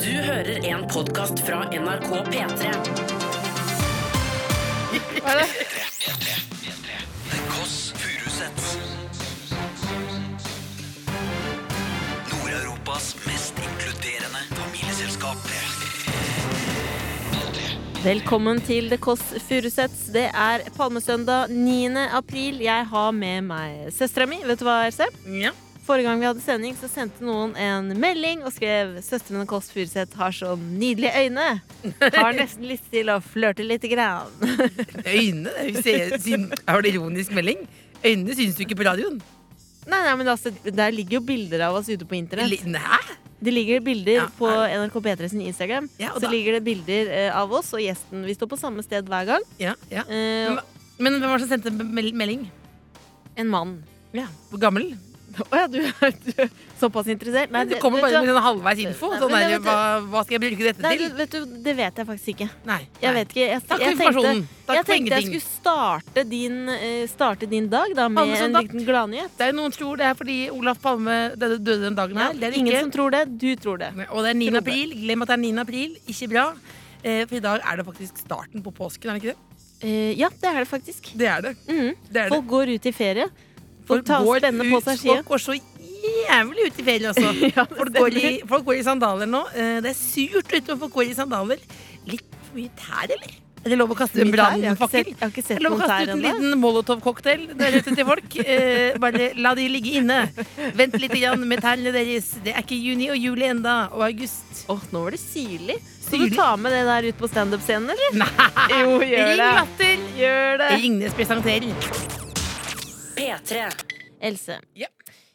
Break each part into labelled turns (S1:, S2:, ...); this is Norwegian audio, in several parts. S1: Du hører en podkast fra NRK P3.
S2: The Koss Furusets Nord-Europas mest inkluderende familieselskap
S3: Velkommen til The Kåss Furuseths. Det er Palmesøndag 9. april. Jeg har med meg søstera mi. Vet du hva, RC?
S1: Ja.
S3: Forrige gang vi hadde sending, så sendte noen en melding og skrev 'Søstrene Kåss Furuseth har så nydelige øyne'. Har nesten lyst til å flørte lite grann.
S4: Øynene? det er jo- syn- Har du ironisk melding? Øynene syns du ikke på radioen.
S3: Nei, nei, men altså, Der ligger jo bilder av oss ute på internett.
S4: Li- Nei?
S3: Det ligger bilder
S4: Ja,
S3: på NRK P3 sin Instagram.
S4: Ja, og
S3: så
S4: da-
S3: ligger det bilder eh, av oss og gjesten. Vi står på samme sted hver gang.
S4: Ja, ja.
S3: Eh,
S4: Men hva- Men hvem var det som sendte en mel- melding?
S3: en mann.
S4: Ja, Hvor gammel?
S3: Å ja, du er, du er såpass interessert? Nei,
S4: det, kommer
S3: vet du
S4: bare
S3: hva?
S4: med sånn halvveis info.
S3: Nei, men
S4: Sånn der,
S3: jeg vet-
S4: hva, hva skal jeg bruke dette
S3: Nei,
S4: til?
S3: du, vet du, det vet jeg faktisk ikke.
S4: Nei.
S3: Jeg
S4: nei.
S3: vet ikke. Jeg,
S4: Takk for
S3: jeg tenkte,
S4: informasjonen. Takk
S3: jeg,
S4: for
S3: tenkte jeg
S4: ingenting.
S3: skulle starte din, eh, starte din dag da, med en
S4: Palmesøndag.
S3: liten gladnyhet.
S4: Det er jo noen som tror det er fordi Olaf Palme døde døde den dagen her. Det er det
S3: Ingen
S4: ikke.
S3: som tror det. Du tror det.
S4: Og det er 9.
S3: Trodde.
S4: april. Glem at det er 9. april. Ikke bra. Eh, For i dag er det faktisk starten på påsken, er det ikke det?
S3: Eh, ja, det er det faktisk.
S4: Det er det.
S3: Mhm.
S4: det, er det.
S3: Folk går ut i ferie. Folk tar
S4: går
S3: spennende
S4: ut-
S3: på seg skia.
S4: Folk går så jævlig ut i ferie også.
S3: Ja, det
S4: folk, går i,
S3: stemmer.
S4: folk går i sandaler nå. Eh, Det er surt ute, og folk går i sandaler. Litt for mye tær, eller? Er det lov å kaste en
S3: Mye tær? Jeg har ikke
S4: brannfakkel?
S3: sett, jeg har ikke
S4: Det
S3: sett
S4: er lov å
S3: noen
S4: kaste
S3: tær
S4: ut en
S3: ennå.
S4: liten molotovcocktail der ute til folk. Eh, bare la de ligge inne. Vent litt grann med tærne deres. Det er ikke juni og juli enda, og august.
S3: Åh, nå var det syrlig. Skal du
S4: Syrlig?
S3: ta med det der ut på standup-scenen, eller?
S4: Nei!
S3: Jo, gjør
S4: Ring
S3: det.
S4: latter!
S3: Gjør det.
S4: Ringnes presenterer.
S1: P3.
S3: Else.
S4: Ja.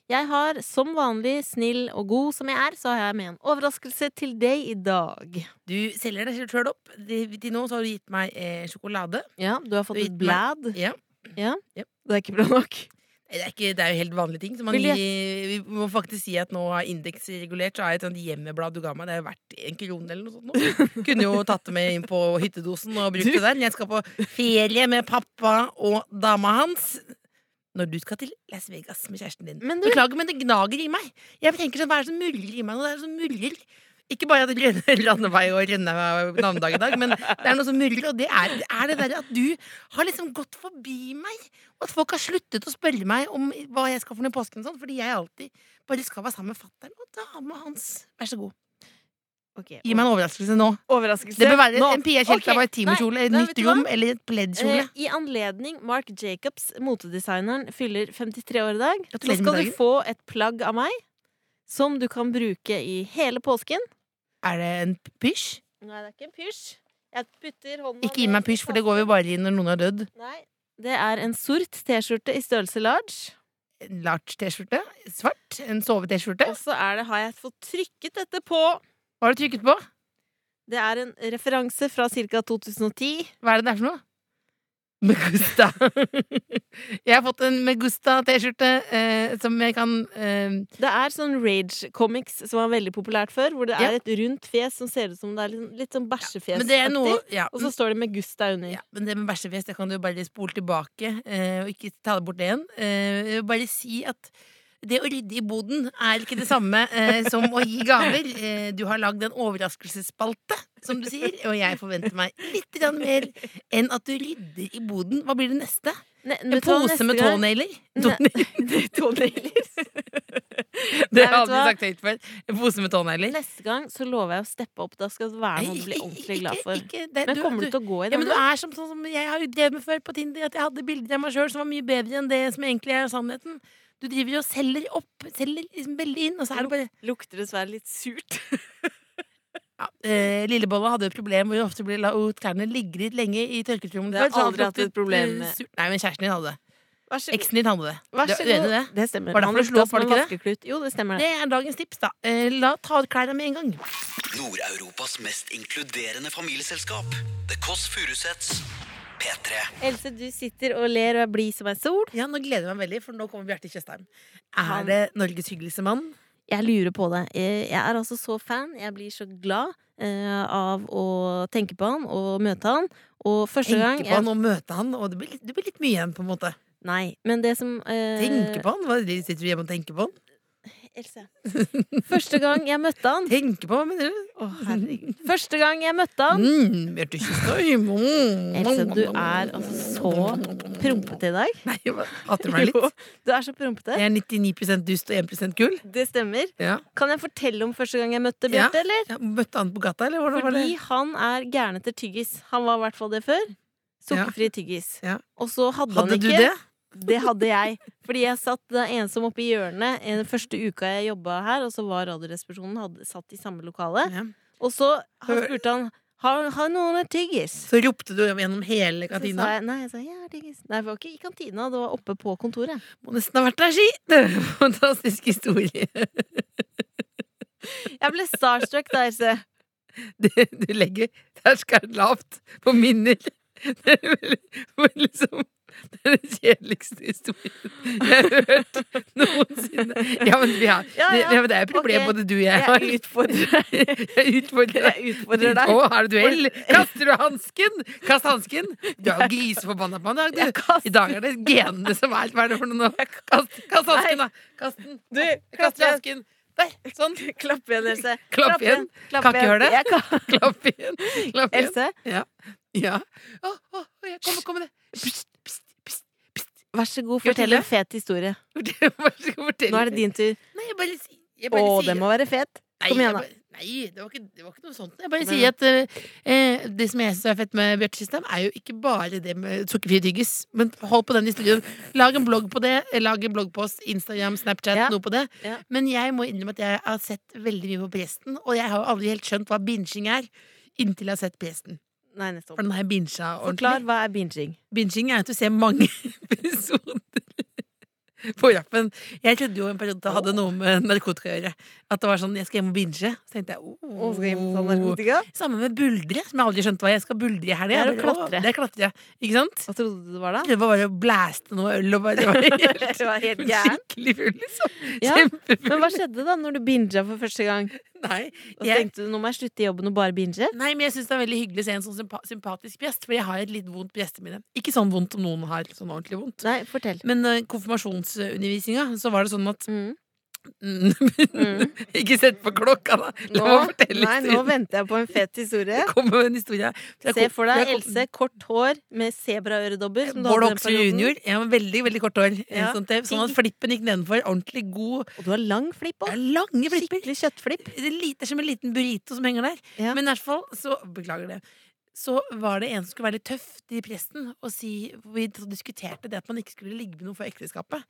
S3: Jeg har som vanlig, snill og god som jeg er, så har jeg med en overraskelse til deg i dag.
S4: Du selger deg sjøl opp. Til nå så har du gitt meg eh, sjokolade.
S3: Ja, du har fått
S4: Du
S3: et
S4: gitt meg-
S3: blad.
S4: Ja.
S3: Ja.
S4: Ja.
S3: Det er ikke bra nok.
S4: Nei, Det er, ikke, det er jo helt vanlige ting. Så man
S3: Vil jeg-
S4: gir, vi må faktisk si at nå er indeksregulert. Så er et sånt hjemmeblad du ga meg, det er verdt en krone eller noe sånt. Nå. Kunne jo tatt det med inn på hyttedosen og brukt det der. Men Jeg skal på ferie med pappa og dama hans. Når du skal til Las Vegas med kjæresten din.
S3: Men du-
S4: Beklager, men det gnager i meg. Jeg tenker sånn, Hva er det som murrer i meg nå? Det er som murrer. Ikke bare at det renner landevei og renner navnedag i dag, men det er noe som murrer, og det er det, er det der at du har liksom gått forbi meg. Og at folk har sluttet å spørre meg om hva jeg skal for noe i påsken. og Sånn, fordi jeg alltid bare skal være sammen med fatter'n og dama hans. Vær så god.
S3: Ok,
S4: Gi meg en overraskelse nå.
S3: overraskelse.
S4: Det bør være
S3: Nå.
S4: en
S3: Ok,
S4: PA-kjelte av et timekjole, et
S3: nei, vet
S4: nytt
S3: du
S4: rom
S3: hva?
S4: eller et pleddkjole.
S3: Eh, I anledning Mark Jacobs, motedesigneren, fyller 53 år i dag, så
S4: Gratulerer med
S3: skal du
S4: dagen.
S3: få et plagg av meg som du kan bruke i hele påsken.
S4: Er det en pysj?
S3: Nei, det er ikke en pysj. Jeg putter hånda
S4: Ikke gi meg pysj, for det går jo bare i når noen har dødd.
S3: Nei. Det er en sort T-skjorte i størrelse large.
S4: En large T-skjorte. Svart. En sove-T-skjorte.
S3: Og så er det, har jeg fått trykket dette på.
S4: Hva har du trykket på?
S3: Det er en referanse fra ca. 2010.
S4: Hva er det det er for noe? Megusta. jeg har fått en Megusta-T-skjorte eh, som jeg kan eh,
S3: Det er sånn rage comics som var veldig populært før, hvor det
S4: Ja.
S3: er et rundt fjes som ser ut som det er litt, litt sånn bæsjefjes.
S4: Men det er noe ja,
S3: Og så står det med Gusta under.
S4: Ja, men det med bæsjefjes, det kan du jo bare spole tilbake eh, og ikke ta det bort det igjen. Eh, jeg vil bare si at det å rydde i boden er ikke det samme eh, som å gi gaver. Eh, du har lagd en overraskelsesspalte, som du sier, og jeg forventer meg litt grann mer enn at du rydder i boden. Hva blir det neste?
S3: Ne-
S4: En
S3: vet du hva,
S4: pose
S3: neste
S4: med
S3: gang-
S4: tånegler?
S3: Ne-
S4: Tånegler.
S3: Tånegler.
S4: Det
S3: vet
S4: har jeg
S3: du
S4: aldri
S3: hva?
S4: sagt høyt før. En pose med tånegler.
S3: Neste gang så lover jeg å steppe opp. Da skal det være noe å bli ordentlig glad for. Men kommer du til å gå i
S4: Ja, men
S3: den?
S4: du er som, sånn som jeg har jo drevet med før på Tinder, at jeg hadde bilder av meg sjøl som var mye bedre enn det som egentlig er sannheten. Du driver jo og selger opp, selger liksom veldig inn, og så er det bare
S3: Lukter dessverre litt surt.
S4: ja, eh, Lillebolla hadde jo et problem hvor hun ofte ble la og klærne ligge litt lenge i tørketrommelen.
S3: Det har
S4: før, så han
S3: aldri hatt et
S4: luktet,
S3: problem
S4: eh,
S3: med.
S4: surt. Nei, men kjæresten din hadde det.
S3: Vær så
S4: Eksen din hadde det.
S3: Vær
S4: Du er
S3: så
S4: uenig i
S3: god.
S4: det?
S3: Det stemmer.
S4: Var det
S3: Han
S4: derfor du slo
S3: lukta
S4: opp,
S3: som
S4: var det
S3: en
S4: ikke
S3: vaskeklut. Jo, det stemmer det.
S4: Det er dagens tips, da. Eh, la ta ut klærne med en gang.
S2: Nord-Europas mest inkluderende familieselskap The Koss Furusets P3
S3: Else, du sitter og ler og er blid som ei sol.
S4: Ja, nå gleder jeg meg veldig, for nå kommer Bjarte Tjøstheim.
S3: Han-
S4: Er det Norges hyggeligste mann?
S3: Jeg lurer på det. Eh, Jeg er altså så fan. Jeg blir så glad eh, av å tenke på han og møte han. Og første gang
S4: Tenke på han og møte han, og det blir, litt- det blir litt mye igjen, på en måte.
S3: Nei, men det som eh,
S4: Tenke på han? Hva sitter du hjemme og tenker på han?
S3: Else. Første gang jeg møtte han
S4: Tenke på, hva mener du?
S3: Å,
S4: Sånn,
S3: herregud. Første gang jeg møtte han
S4: Mm, hjertekysstøy. Mm.
S3: Else, du er altså så prompete i dag.
S4: Nei, hva- hater du meg
S3: Jo,
S4: litt?
S3: du er så prompete.
S4: Jeg er 99 dust og 1 gull.
S3: Det stemmer.
S4: Ja.
S3: Kan jeg fortelle om første gang jeg møtte
S4: Ja.
S3: Bjarte, eller?
S4: Ja, møtte han på gata, eller hvordan var
S3: Fordi
S4: det?
S3: han er gæren etter tyggis. Han var i hvert fall det før. Sukkerfri tyggis.
S4: Ja.
S3: Og så hadde,
S4: Hadde
S3: han
S4: du
S3: ikke.
S4: det?
S3: Det hadde jeg. Fordi jeg satt da ensom oppe i hjørnet eh, den første uka jeg jobba her, og så var Radioresepsjonen hadde, satt i samme lokale.
S4: Ja.
S3: Og så han
S4: Hør-
S3: spurte han har, har noen et tyggis.
S4: Så ropte du gjennom hele
S3: Så sa
S4: kantina.
S3: jeg, nei, jeg sa, ja, tyggis. nei, det var ikke i kantina, det var oppe på kontoret.
S4: Må nesten ha vært der, si! Fantastisk historie.
S3: Jeg ble starstruck da, Else.
S4: Du, du legger terskelen lavt på minner. Det er vel- vel liksom det er den kjedeligste historien jeg har hørt noensinne. Ja, men vi har,
S3: Ja, ja.
S4: Det, ja, men det er et problem,
S3: Ok.
S4: både du og jeg har.
S3: Jeg utfordrer deg.
S4: Jeg utfordrer deg.
S3: Jeg utfordrer deg.
S4: Å, er det duell? Kaster du hansken? Kast hansken! Du er jo griseforbanna på meg i dag,
S3: Jeg
S4: du.
S3: kaster-
S4: I dag er det genene som er Hva er det for noe nå? Kast, kast hansken, da! Kast den.
S3: Du, klapp
S4: Kaster
S3: igjen.
S4: hansken. Der! Sånn.
S3: Klapp igjen, Else.
S4: Klapp igjen.
S3: Klapp
S4: Kan ikke
S3: igjen.
S4: høre det.
S3: Jeg kan.
S4: Klapp igjen. Klapp igjen.
S3: Else,
S4: Ja. ja. Å, å, å, ja. Kom, kom med det. Pst, pst, pst, pst.
S3: vær så god, fortell
S4: Gjør til
S3: en fet historie.
S4: Vær så god, fortell.
S3: Nå er det din tur.
S4: Nei, jeg bare, si-
S3: Å,
S4: jeg bare
S3: den
S4: sier
S3: må være fet.
S4: Nei,
S3: Kom
S4: jeg
S3: igjen, da.
S4: bare- Nei, det var, ikke, det var ikke noe sånt. Jeg bare
S3: Kom igjen,
S4: sier at eh, eh, det som jeg syns er fett med Bjarte System, er jo ikke bare det med sukkerfri tyggis. Men hold på den historien. Lag en blogg på det. eh, Lag en bloggpost, Instagram, Snapchat,
S3: Ja.
S4: noe på det.
S3: Ja.
S4: Men jeg må innrømme at jeg har sett veldig mye på Presten, og jeg har jo aldri helt skjønt hva binging er. Inntil jeg har sett Presten.
S3: Nei,
S4: For
S3: nettopp.
S4: den har jeg binga ordentlig.
S3: Forklar, hva er binging?
S4: Binging er at du ser mange episoder på rappen. Jeg trodde jo en periode det hadde noe med narkotika å gjøre. At det var sånn 'jeg skal hjem og binge'. Så tenkte jeg
S3: Å, skal jeg ta
S4: oh.
S3: narkotika?
S4: Samme med buldre, som jeg aldri skjønte hva jeg skal buldre i helga.
S3: Det er
S4: Jeg
S3: å
S4: bare,
S3: klatre.
S4: «Å, Det er klatre. Ikke sant?
S3: Hva trodde du det var da?
S4: Det var bare å blæste noe øl og bare være helt,
S3: Du var helt gæren.
S4: skikkelig full, liksom.
S3: Ja.
S4: Kjempefull.
S3: Men hva skjedde da når du binga for første gang?
S4: Nei,
S3: Og
S4: jeg,
S3: tenkte du nå må jeg slutte i jobben og bare binge?
S4: nei, men jeg syns det er veldig hyggelig å se en sånn sympa sympatisk gjest, for jeg har et litt vondt bjesteminne. Ikke sånn vondt som noen har, sånn ordentlig vondt.
S3: Nei, fortell.
S4: Men uh, konfirmasjonsundervisninga, så var det sånn at
S3: Mm.
S4: mm.
S3: Mm.
S4: Ikke sett på klokka, da! La
S3: Nå,
S4: meg fortelle
S3: nei, nå
S4: historien.
S3: venter jeg på en fet historie.
S4: Jeg kommer med en historie. Så jeg
S3: Se
S4: kom-
S3: for deg
S4: jeg kom-
S3: Else, kort hår med sebraøredobber. som du
S4: Bård
S3: hadde den
S4: Hoksrud
S3: perioden.
S4: jr. Ja, men veldig veldig kort hår.
S3: Ja.
S4: Sånn, at- sånn at flippen gikk nedenfor. Ordentlig god.
S3: Og du har lang flipp
S4: Det er
S3: òg.
S4: Lange flipper.
S3: Skikkelig kjøttflipp.
S4: Det er lite- det er som en liten burrito som henger der.
S3: Ja.
S4: Men i hvert fall så Beklager det. Så var det en som skulle være litt tøff til presten og si Vi diskuterte det at man ikke skulle ligge med noen før ekteskapet.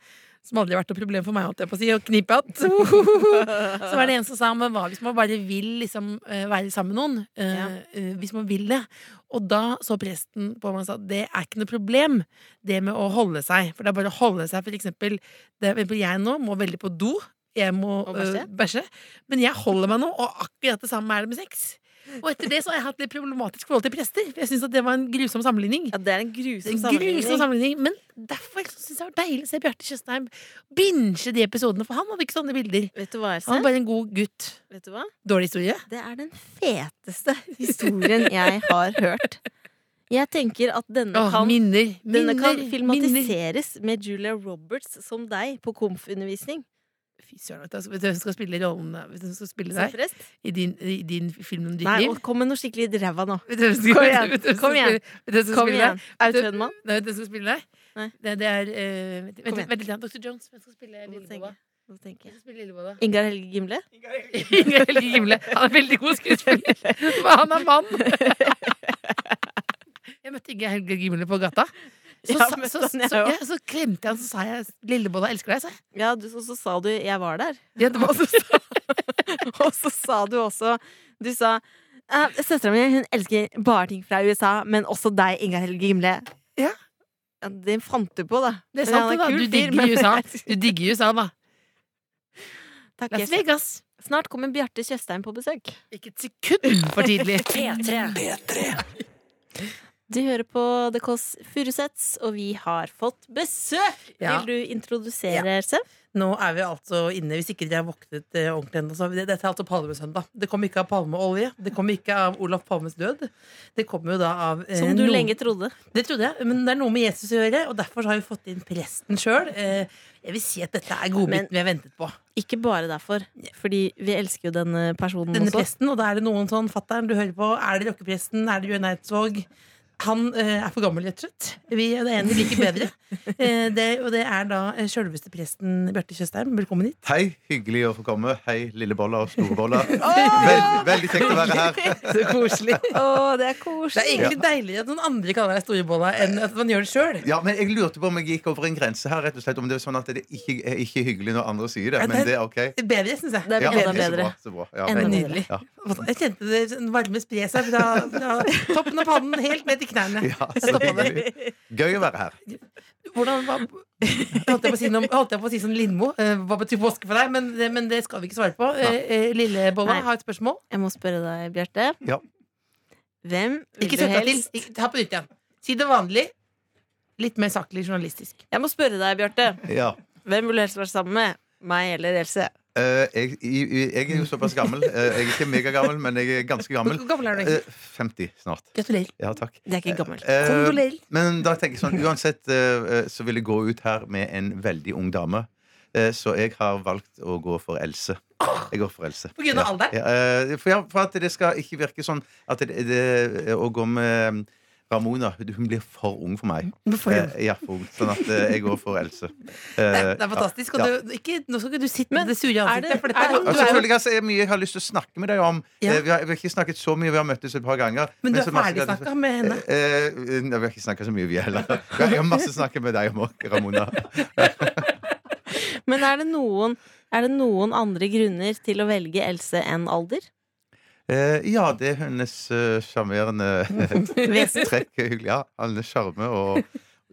S4: Som aldri har vært noe problem for meg, holdt jeg på å si. Og knipe igjen. Så var det en som sa men hva hvis man bare vil liksom, eh, være sammen med noen? Eh,
S3: Ja.
S4: eh, Hvis man vil det. Og da så presten på meg og sa det er ikke noe problem, det med å holde seg. For det er bare å holde seg, for eksempel. Det, for eksempel jeg nå må veldig på do. Jeg må
S3: Og bæsje?
S4: eh, bæsje. Men jeg holder meg nå, og akkurat det samme er det med sex. Og etter det så har jeg hatt litt problematisk forhold til prester. For jeg synes at det var en grusom sammenligning.
S3: Ja, det er en grusom
S4: En grusom
S3: sammenligning.
S4: sammenligning Men derfor så synes jeg det var deilig å se Bjarte Tjøstheim binge de episodene, for han hadde ikke sånne bilder.
S3: Vet du hva,
S4: Han
S3: Else?
S4: var bare en god gutt.
S3: Vet du hva?
S4: Dårlig historie.
S3: Det er den feteste historien jeg har hørt. Jeg tenker at denne
S4: Åh,
S3: kan,
S4: minner. Minner.
S3: denne kan
S4: minner.
S3: filmatiseres med Julia Roberts som deg på komfundervisning.
S4: Fy søren, vet du altså, vet du hvem som skal spille rollen Vet du hvem som skal spille
S3: Som
S4: deg
S3: forrest.
S4: i din, i din film om ditt
S3: Nei,
S4: liv?
S3: og kom med noe skikkelig ræva nå.
S4: Vet du hvem som skal-
S3: Kom igjen,
S4: vet du hvem som
S3: kom igjen. Kom
S4: skal spille- Vet du hvem som skal spille deg?
S3: igjen. Aud Schønmann.
S4: Nei, vet du hvem som skal spille
S3: Nei.
S4: der? Det, det er eh, vent,
S3: Kom
S4: vent,
S3: igjen.
S4: vent litt, grann. Dr. Jones. Hvem skal spille
S3: Nå
S4: Lillebolla?
S3: tenker jeg. Nå tenker
S4: Hvem
S3: jeg.
S4: skal spille Lillebolla?
S3: Ingar Helge Gimle?
S4: Ingar Helge Gimle. Han er veldig god skuespiller, men han er mann. Jeg møtte Ingar Helge Gimle på gata. Så,
S3: Jeg
S4: sa,
S3: har møtt
S4: så,
S3: han,
S4: så,
S3: jeg
S4: så,
S3: også.
S4: ja, så klemte jeg han, så sa jeg 'Lillebolla elsker deg', sa jeg.
S3: Ja, du, og så sa du 'jeg var der'.
S4: Ja, det var så sa-
S3: Og så sa du også Du sa «Eh, Søstera mi hun elsker bare ting fra USA, men også deg, Ingar Helge Gimle.
S4: Ja.
S3: Ja, det fant du på, da.
S4: Det
S3: Men
S4: er sant,
S3: han
S4: det, da.
S3: kul
S4: Du
S3: fyr,
S4: digger
S3: men-
S4: USA. Du digger USA, da.
S3: Takk,
S4: Las
S3: Jesper.
S4: Vegas.
S3: Snart kommer Bjarte Tjøstheim på besøk.
S4: Ikke et sekund for tidlig.
S1: P3.
S2: P3.
S3: Du hører på The Kåss Furuseths, og vi har fått besøk!
S4: Ja.
S3: Vil du introdusere, Sev?
S4: Nå er vi altså inne, hvis ikke dere har våknet eh, ordentlig ennå, så har vi det. Dette er altså Palmesøndag. Det kom ikke av palmeolje. Det kom ikke av Olaf Palmes død. Det kom jo da av eh,
S3: Som du
S4: noen-
S3: lenge trodde.
S4: Det trodde jeg, men det er noe med Jesus å gjøre, og derfor har vi fått inn presten sjøl. Jeg vil si at dette er
S3: Men-
S4: godbiten vi har ventet på.
S3: Ikke bare derfor, fordi vi elsker jo denne personen
S4: Denne
S3: også.
S4: presten, og da er det noen sånn fatter'n du hører på. Er det rockepresten? Er det Jørn Eidsvåg? Han eh, er for gammel, rett og slett. Vi det er en vi liker bedre. Eh, det, og det er da uh, sjølveste presten Bjarte Tjøstheim. Velkommen hit.
S5: Hei, hyggelig å få komme. Hei, lille bolla og store bolla. Vel- veldig kjekt å være her.
S4: Så koselig.
S3: Å, det er
S4: Det
S3: koselig!
S4: er egentlig deiligere at noen andre kaller deg Storebolla enn at man gjør det sjøl.
S5: Ja, men Jeg lurte på om jeg gikk over en grense her. rett og slett Om det er sånn at det ikke er ikke hyggelig når andre sier det. Men det er ok.
S4: Bedre, syns jeg.
S3: Det er
S5: Ja,
S3: enda
S5: ok, så
S3: bedre.
S5: bra, så bra. Ja.
S3: Enda bedre.
S4: Nydelig.
S5: Ja.
S4: Jeg kjente det sånn varme spre seg fra, fra toppen av pannen helt ned til knærne.
S5: Ja, så hyggelig. Gøy å være her.
S4: Hvordan hva, holdt, jeg på å si noe, holdt jeg på å si som Lindmo? eh, hva betyr påske for deg? Men, det- men det skal vi ikke svare på. Uh, Lille Bolla
S3: Nei.
S4: har et spørsmål.
S3: Jeg må spørre deg, Bjarte.
S5: Ja.
S3: Hvem vil
S4: Ikke
S3: du
S4: sett deg til.
S3: helst
S4: Ikke- Ta på nytt igjen. Si det vanlig. Litt mer saklig journalistisk.
S3: Jeg må spørre deg, Bjarte.
S5: Ja.
S3: Hvem vil du helst være sammen med? Meg eller Else?
S5: Eh, jeg, i- i- jeg er jo såpass gammel. Eh, jeg er ikke megagammel, men jeg er ganske gammel.
S4: Hvor gammel er du
S5: Eh,
S4: egentlig?
S5: 50 snart.
S4: Gratulerer.
S5: Ja, takk.
S3: Det er ikke gammelt.
S5: Eh,
S4: Kondolerer.
S5: Men da tenker jeg sånn, uansett eh, eh, så vil jeg gå ut her med en veldig ung dame. Eh, så jeg har valgt å gå for Else. Jeg går for Else.
S4: På grunn av alder?
S5: Ja, eh, for, ja, for at det skal ikke virke sånn at det, det, å gå med eh, Ramona Hun blir for ung for meg.
S4: Mm, For ung.
S5: Eh, ja, for ung. Sånn at eh, jeg går for Else. Eh,
S4: Det er, det er fantastisk. Og du, ikke, nå skal ikke du sitte med det sure ansiktet.
S3: det-
S4: for dette
S3: er
S4: er,
S3: det-
S4: jo-
S5: Ja,
S4: du er jo
S5: selvfølgelig altså, er det mye jeg har lyst til å snakke med deg om.
S4: Ja.
S5: Eh, Vi, har, vi har ikke snakket så mye, vi har møttes et par ganger.
S4: Men du er
S5: så masse-
S4: ferdigsnakka med henne.
S5: Eh, eh, nei, vi har ikke snakket så mye, vi heller. Jeg har masse å snakke med deg om òg, Ramona.
S3: Men er det, noen, er det noen andre grunner til å velge Else enn alder?
S5: Eh, ja, det er hennes eh, sjarmerende
S3: Vesen.
S5: trekk. er Hyggelig. Ja, hennes sjarme og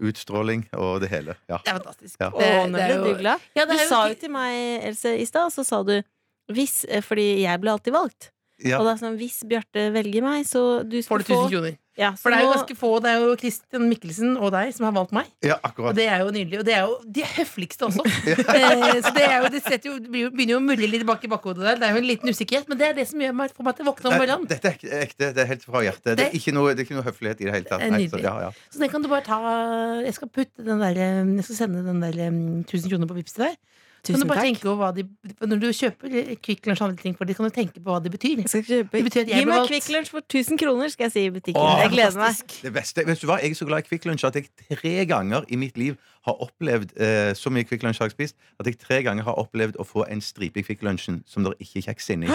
S5: utstråling og det hele. Ja.
S4: Det er fantastisk.
S5: Ja.
S3: Å,
S4: Det-
S3: nå
S4: det er
S3: ble du
S4: jo-
S3: glad.
S4: Ja,
S3: Du
S4: det er jo
S3: sa
S4: ikke-
S3: jo til meg, Else, i stad, så sa du hvis eh, Fordi jeg ble alltid valgt.
S5: Ja.
S3: Og det er sånn, hvis Bjarte velger meg, så du
S4: Får
S3: skal
S4: du 1000
S3: få
S4: kroner?
S3: ja, så
S4: For det er jo
S3: nå-
S4: ganske få. Det er jo Christian Mikkelsen og deg som har valgt meg.
S5: ja,
S4: Og
S5: akkurat.
S4: det er jo nydelig. Og det er jo de høfligste også. Eh, Så det, er jo, det, setter jo, det blir jo- begynner jo å murre litt bak i bakhodet der. Det er jo en liten usikkerhet, men det er det som gjør meg, får meg til å våkne om
S5: Nei,
S4: morgenen.
S5: Eh, dette er ek- ekte. Det er helt fra hjertet. Det
S4: Det-
S5: er ikke noe, det er ikke noe høflighet i det hele tatt.
S4: Det er
S5: Nei, så,
S4: nydelig.
S5: ja, ja.
S4: Så den kan du bare ta Jeg skal putte den der eh, Jeg skal sende den der eh, 1000 kroner på Vipps til deg. Så kan
S3: Tusen
S4: du bare
S3: takk.
S4: tenke på hva de Når du kjøper eh, Kvikk Lunsj og andre ting for dem, kan du tenke på hva de betyr.
S3: Jeg skal kjøpe
S4: Det betyr at jeg
S3: Gi
S4: ble
S3: meg
S4: valgt.
S3: Kvikk Lunsj for 1000 kroner, skal jeg si i butikken.
S5: Åh,
S3: jeg gleder meg.
S5: Det beste, vet du hva, Jeg er så glad i Kvikk Lunsj at jeg tre ganger i mitt liv har opplevd eh, så mye Kvikk Lunsj har jeg spist, at jeg tre ganger har opplevd å få en stripe i Kvikk Lunsjen som det er ikke er kjeks inni.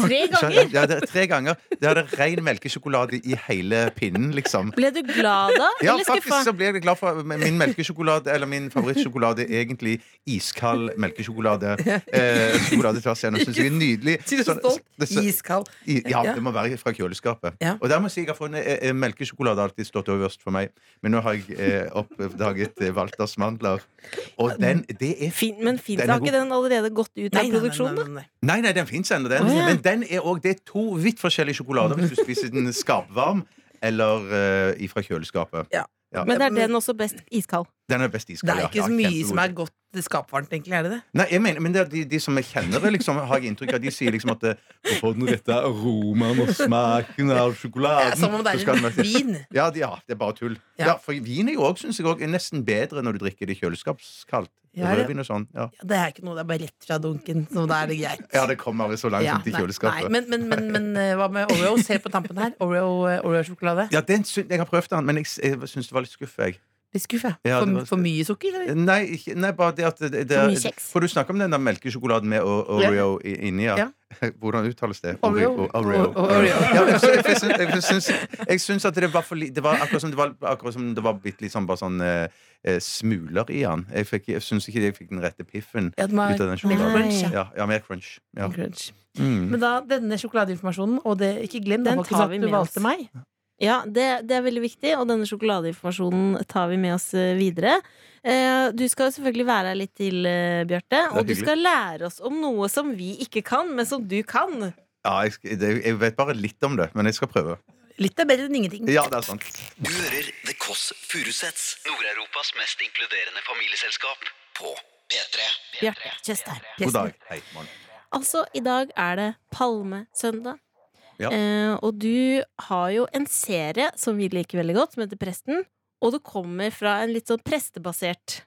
S3: Tre
S5: Så,
S3: ganger!
S5: ja, det er tre ganger. Det er det ren melkesjokolade i hele pinnen, liksom.
S3: Ble du glad da,
S5: Ja,
S3: eller skuffa?
S5: faktisk så ble jeg glad for men min melkesjokolade Eller min favorittsjokolade er egentlig iskald melkesjokolade. Eh, sjokolade tvers igjennom. Syns jeg er nydelig.
S4: Sier du
S5: Sånn-
S4: stolt?
S5: det- så-
S4: Iskald.
S5: i, ja,
S4: Ja.
S5: det må være fra kjøleskapet.
S4: Ja.
S5: Og der må jeg si jeg har funnet eh, eh, melkesjokolade har alltid stått øverst for meg. Men nå har jeg eh, oppdaget eh, Walters mandler. Og den, det er f-
S3: Fin, men fins
S5: Den er
S3: har
S5: god.
S3: ikke den allerede gått ut av produksjonen? da?
S4: nei, nei.
S5: Nei, nei, den fins ennå, den.
S3: Å, ja.
S5: Men den er også, det er to vidt forskjellige sjokolader hvis du spiser den skarpvarm eller eh, ifra kjøleskapet.
S4: Ja.
S5: Ja.
S3: Men det er den også best iskald.
S5: Den er best
S4: Det
S5: iskald.
S4: er
S5: ja.
S4: ikke så
S5: Ja,
S4: mye
S5: kjempegod.
S4: som er godt skapvarmt, egentlig. Er det det?
S5: Nei, jeg mener, men det er de, de som jeg kjenner, liksom, har jeg inntrykk av, de sier liksom at eh, Å få den rette aromaen og smaken av
S4: Det
S5: sjokoladen
S4: er som om det
S5: så skal
S4: er
S5: den
S4: en
S5: være-
S4: vin.
S5: Ja, de- ja, det er bare tull.
S4: Ja.
S5: Ja. for Vin er jo også, synes jeg også, er nesten bedre når du drikker det kjøleskapskaldt.
S4: Ja, ja.
S5: Rødvin og sånn. Ja.
S4: Ja, Det er ikke noe, det er bare rett fra dunken. Så da er det greit.
S5: ja, det kommer aldri så langt
S4: Ja,
S5: som til
S4: nei,
S5: kjøleskapet.
S4: nei, men, men, men, men eh, hva med Oreo? Se på tampen her. Oreo, eh, Oreo-sjokolade.
S5: Ja, den, syn- Jeg har prøvd den, men jeg, s- jeg syns det var litt skuff. Jeg.
S4: Litt skuff, jeg.
S5: Ja, det
S4: for,
S5: var-
S4: for mye sukker? Eller?
S5: Nei, ikke, nei, bare det at det, det,
S3: For mye kjeks.
S5: For du snakker om den der melkesjokoladen med o- Oreo i- inni, ja.
S4: Ja.
S5: Hvordan uttales det?
S4: Oreo.
S5: O- Oreo.
S4: O- Oreo.
S5: Ja, jeg sy- jeg syns- jeg syns- Jeg syns at det var for li- Det var akkurat som det var, akkurat som det var bitte litt sånn bare sånn eh, eh, smuler i den. Jeg, fikk- jeg syns ikke jeg fikk den rette piffen
S4: Ja, den var-
S5: ut av den
S4: mer
S5: sjokoladen.
S4: crunch, ja.
S5: ja, ja, mer crunch. Ja.
S4: Crunch.
S5: Mm.
S4: Men da, denne sjokoladeinformasjonen, og det, ikke glem det
S3: Den
S4: var ikke
S3: tar
S4: sånn
S3: vi
S4: at du
S3: med oss.
S4: valgte meg.
S3: Ja, det, det er veldig viktig, og denne sjokoladeinformasjonen tar vi med oss eh, videre. Eh, Du skal jo selvfølgelig være her litt til, eh, Bjarte,
S5: er
S3: og du
S5: hyggelig.
S3: skal lære oss om noe som vi ikke kan, men som du kan.
S5: Ja, jeg, sk- det- jeg vet bare litt om det, men jeg skal prøve.
S4: Litt er bedre enn ingenting.
S5: Ja, det er sant.
S2: Du hører The Kåss Furuseths, Nord-Europas mest inkluderende familieselskap, på P3.
S3: Bjarte Tjøstheim.
S5: God dag. Hei, morgen.
S3: Altså, i dag er det Palmesøndag.
S5: Ja.
S3: Eh, og du har jo en serie som vi liker veldig godt, som heter Presten. Og det kommer fra en litt sånn prestebasert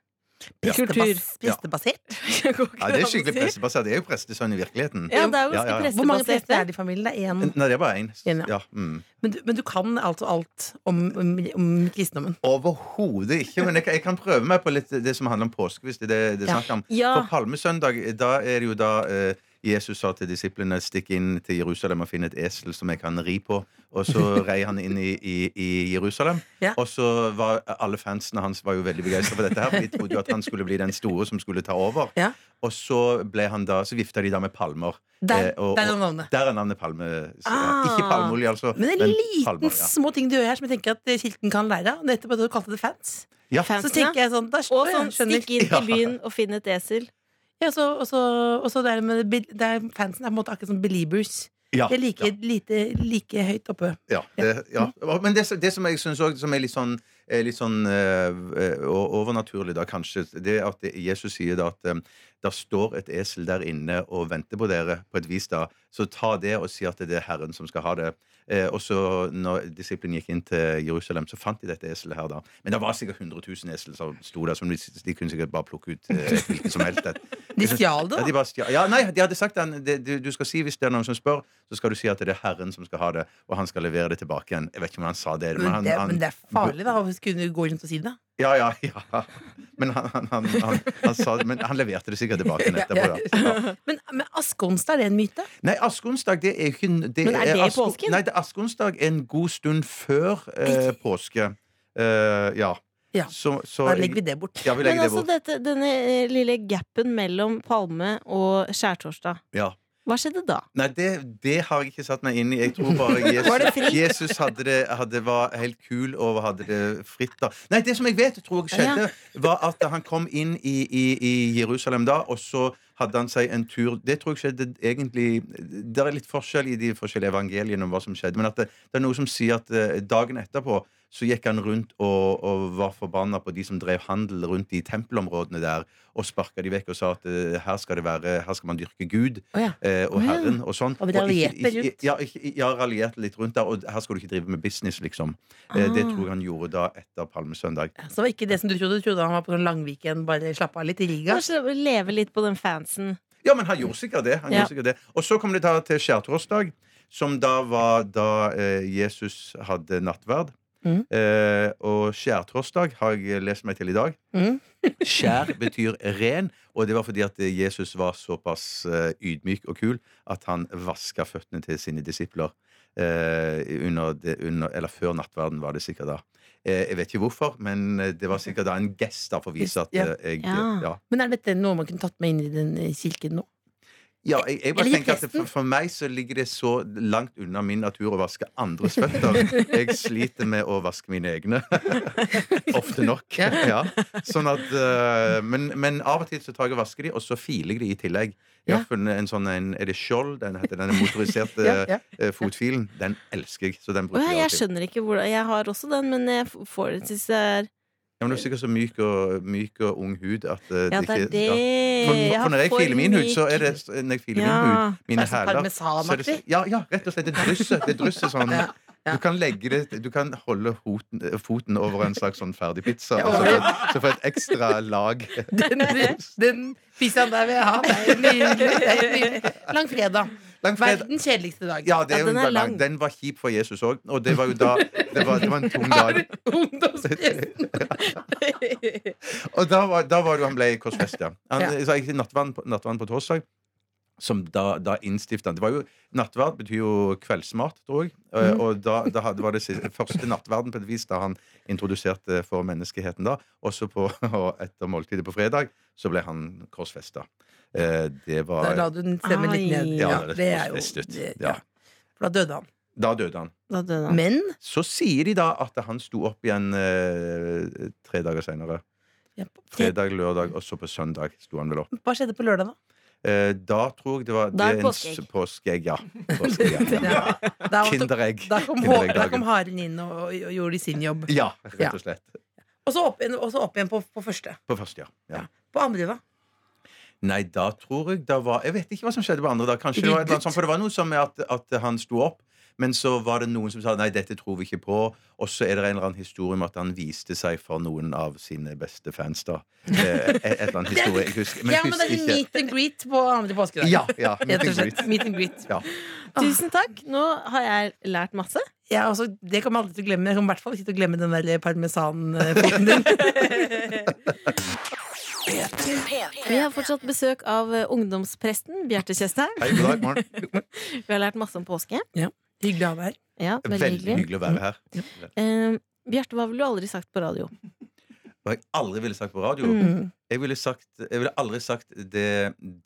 S5: Ja.
S3: kultur.
S4: Prestebas- Prestebasert?
S3: Ja,
S5: Ja, det er skikkelig prestebasert. Det er jo prestesønn i virkeligheten.
S3: Ja, det er jo
S5: Ja, ja,
S3: ganske
S5: ja.
S4: Hvor mange prester er
S3: prestebasert.
S4: det i familien? Det er én.
S5: Nei, det er bare én.
S4: En, ja.
S5: Ja, mm.
S4: Men, du- men du kan altså alt om, om, om kristendommen?
S5: Overhodet ikke. Men jeg, kan- jeg kan prøve meg på litt det som handler om påske. Hvis det er det, det er
S4: Ja.
S5: snakk om.
S3: Ja.
S5: For palmesøndag, da er det jo da eh, Jesus sa til disiplene stikk inn til Jerusalem og finn et esel som jeg kan ri på. Og så rei han inn i, i, i Jerusalem.
S4: Ja.
S5: Og så var alle fansene hans var jo veldig begeistra for dette her. For de trodde jo at han skulle bli den store som skulle ta over.
S4: Ja.
S5: Og så, ble han da, så vifta de da med palmer.
S4: Der,
S5: Eh, og-
S4: der er
S5: og-
S4: navnet.
S5: Der er navnet palme.
S4: Ah.
S5: Ikke palmeolje, altså.
S4: Men det er liten
S5: palmer, ja.
S4: små ting du gjør her som jeg tenker at kirken kan lære av. Nettopp at du kalte det fans.
S5: Ja.
S4: Så
S3: Fansene.
S4: tenker jeg sånn, da
S3: Og
S4: å, ja,
S3: sånn
S4: skjønner.
S3: stikk inn i byen og finn et esel.
S4: Ja, så, og så, og så det er med, be- det er, fansen er på en måte akkurat som believers.
S5: Ja,
S4: De er like,
S5: ja,
S4: lite, like høyt oppe.
S5: ja, det, ja. Men det, som- det som jeg syns òg som er litt sånn, er litt sånn eh, eh, overnaturlig, da kanskje, det er at det- Jesus sier da at um, det står et esel der inne og venter på dere, på et vis, da. Så ta det og si at det er Herren som skal ha det. Eh, og så når disiplene gikk inn til Jerusalem, så fant de dette eselet her, da. Men det var sikkert 100 000 esel som sto der, som de, de kunne sikkert bare plukke ut eh, hvilket som helst. et.
S4: De stjal det,
S5: Ja, de
S4: da.
S5: bare stjal- ja, nei, de hadde sagt den, det, du, du skal si Hvis det er noen som spør, så skal du si at det er Herren som skal ha det, og han skal levere det tilbake igjen. Jeg vet ikke om han sa det. Men
S4: Men
S5: han,
S4: det,
S5: han,
S4: men det er farlig, da, å skulle gå rundt og si det.
S5: Ja, ja, ja. Men han, han, han, han, han, sa, men han leverte det sikkert tilbake igjen etterpå. Da. Ja.
S4: Men, men askeonsdag, er det en myte?
S5: Nei, askeonsdag det er jo ikke det
S3: Men er det i
S5: aske-
S3: påsken?
S5: Nei, det er askeonsdag en god stund før eh, påske. Eh, ja.
S4: Ja.
S5: Så, så
S4: Da legger vi det bort.
S5: Ja, vi
S3: Men
S5: legger det
S3: altså
S5: bort.
S3: dette, denne eh, lille gapen mellom palme og skjærtorsdag.
S5: Ja.
S3: Hva skjedde da?
S5: Nei, det, det har jeg ikke satt meg inn i. Jeg tror bare
S4: Var det
S5: Jesus,
S4: fritt?
S5: Jesus hadde det, hadde, var helt kul og hadde det fritt da. Nei, det som jeg vet tror jeg skjedde, var at han kom inn i, i, i Jerusalem da, og så hadde han seg en tur Det tror jeg skjedde egentlig Det er litt forskjell i de forskjellige evangeliene om hva som skjedde, men at det, det er noe som sier at eh, dagen etterpå så gikk han rundt og, og var forbanna på de som drev handel rundt de tempelområdene der, og sparka de vekk og sa at eh, her skal, det være, her skal man dyrke Gud
S4: Å ja.
S5: eh, og
S3: Å, ja.
S5: Herren og sånn.
S4: Og vi raljerte
S5: ikke- ikke-
S4: rundt.
S5: Ja, ikke- ja raljerte litt rundt der. Og her skal du ikke drive med business, liksom. Eh, Det
S3: Ah.
S5: tror jeg han gjorde da etter Palmesøndag.
S4: Så det var ikke det som du trodde. Du trodde han var på sånn Langviken, bare slappe av litt i Riga.
S3: Kanskje leve litt på den fansen.
S5: Ja, men han gjorde sikkert det. Han
S3: Ja.
S5: gjorde sikkert det. Og så kom det da til skjærtorsdag, som da var da eh, Jesus hadde nattverd.
S3: Mm.
S4: Mhm.
S5: Eh, og skjærtorsdag har jeg lest meg til i dag.
S4: Mm.
S5: Skjær betyr ren, og det var fordi at Jesus var såpass eh, ydmyk og kul at han vaska føttene til sine disipler eh, under det, under, eller før nattverden, var det sikkert da. Eh, jeg vet ikke hvorfor, men eh, det var sikkert da en gest da for å vise at eh, jeg
S3: Ja.
S5: Ja,
S4: Men er dette noe man kunne tatt med inn i den eh, kirken nå?
S5: ja jeg, jeg bare
S4: Eller i
S5: tenker at det-
S4: presten.
S5: for, for meg så ligger det så langt unna min natur å vaske andres føtter. Jeg sliter med å vaske mine egne. Ofte nok. Ja. Sånn at, eh, men, men av og til så tar jeg og vasker de, og så filer jeg de i tillegg. Jeg har
S4: Ja.
S5: funnet en sånn en, Er det skjold? Den heter den motoriserte
S4: Ja, ja.
S5: eh, fotfilen. Den elsker jeg, så den
S3: Å
S5: bruker
S3: ja,
S5: jeg
S3: jeg
S5: av og til.
S3: skjønner ikke hvordan Jeg har også den, men jeg f- får det synes jeg er
S5: Ja, men du er sikkert så myk og, myk og ung hud at eh,
S3: Ja, det er
S5: ikke-
S3: det.
S5: ja. For,
S3: Jeg
S5: for
S3: har
S5: når jeg
S3: for
S5: filer min hud, så er det
S3: myk-
S5: Når jeg filer
S3: Ja.
S5: min hud, mine
S4: Det er sånn
S5: hæler så er det-
S4: parmesanaktig.
S5: ja, ja, rett og slett. Det drysser. Det drysser sånn.
S4: Ja, ja.
S5: Du kan legge det Du kan holde hoten, foten over en slags sånn ferdig pizza,
S4: Ja,
S5: og så,
S4: over det.
S5: får- så får et ekstra lag.
S4: Den, den pizzaen der vil jeg ha. Det er nydelig. Det er nydelig. Langfredag.
S5: Langfredag.
S4: Verdens kjedeligste dag.
S5: Ja, det
S3: Ja,
S5: er jo
S3: den er
S5: bare lang.
S3: lang.
S5: Den var kjip for Jesus òg, og det var jo da Det var, det var en tung dag.
S4: Ungdomspresten.
S5: Og da var, da var det jo han ble korsfest, ja. Han,
S4: Ja.
S5: Så jeg gikk til nattverden på, nattverden på torsdag. Som da, da innstifta han. Det var jo, nattverd betyr jo kveldsmat, tror jeg. Eh,
S4: Mhm.
S5: Og da, da hadde, var det siste, første nattverden på et vis da han introduserte for menneskeheten. da Også på, og etter måltidet på fredag så ble han korsfesta. Det
S4: Da la
S5: var
S4: du den stemmen litt ned.
S3: Ai.
S5: Ja,
S4: Ja,
S5: det
S4: det er
S5: høres best
S4: jo
S5: ut.
S4: det-
S5: Ja.
S4: ja. For da døde han.
S5: Da døde han.
S3: Da døde han.
S4: Men
S5: Så sier de da at han sto opp igjen eh, tre dager seinere.
S4: ja,
S5: Fredag, lørdag, og så på søndag sto han vel opp.
S4: hva skjedde på lørdag, da?
S5: Eh, da tror jeg det var
S3: Da er
S5: det
S3: påskeegg.
S5: s- påskeegg. Ja. Påskeegg, ja.
S4: Ja. Da,
S5: Kinderegg.
S4: da kom,
S5: Kinderegg
S4: Hå- da
S5: dagen.
S4: kom haren inn og, og gjorde sin jobb.
S5: Ja, rett og slett.
S4: Og så opp, igjen- og så opp igjen på, på første.
S5: På første, ja. ja.
S4: Ja. På andre, da?
S5: Nei, da tror jeg det var Jeg vet ikke hva som skjedde på andre dag. Kanskje det var et eller annet sånt, For det var noe som med at, at han sto opp, men så var det noen som sa nei, dette tror vi ikke på. Og så er det en eller annen historie om at han viste seg for noen av sine beste fans, da. Eh, et, et eller annet historie. Jeg husker, men
S4: ja,
S5: jeg
S4: men det
S5: husker
S4: er
S5: ikke.
S4: meet and greet på andre påskedag.
S5: Ja, ja.
S4: Rett og
S5: meet and
S4: slett.
S5: greet.
S4: Meet and greet.
S5: Ja.
S3: Tusen takk. Nå har jeg lært masse.
S4: Ja, altså, det kommer jeg aldri til å glemme. Jeg kommer i hvert fall ikke til å glemme den der parmesanfoten din.
S3: Vi har fortsatt besøk av eh, ungdomspresten Bjarte Tjøstheim.
S5: Hei, god dag, morgen.
S3: Vi har lært masse om påske.
S4: Hyggelig å ha deg her.
S3: Ja, veldig
S5: Veldig
S3: hyggelig.
S5: hyggelig å være her.
S3: Eh, Bjarte, hva ville du aldri sagt på radio?
S5: Hva jeg aldri ville sagt på radio.
S4: Mm.
S5: Jeg ville, sagt, jeg ville aldri sagt det,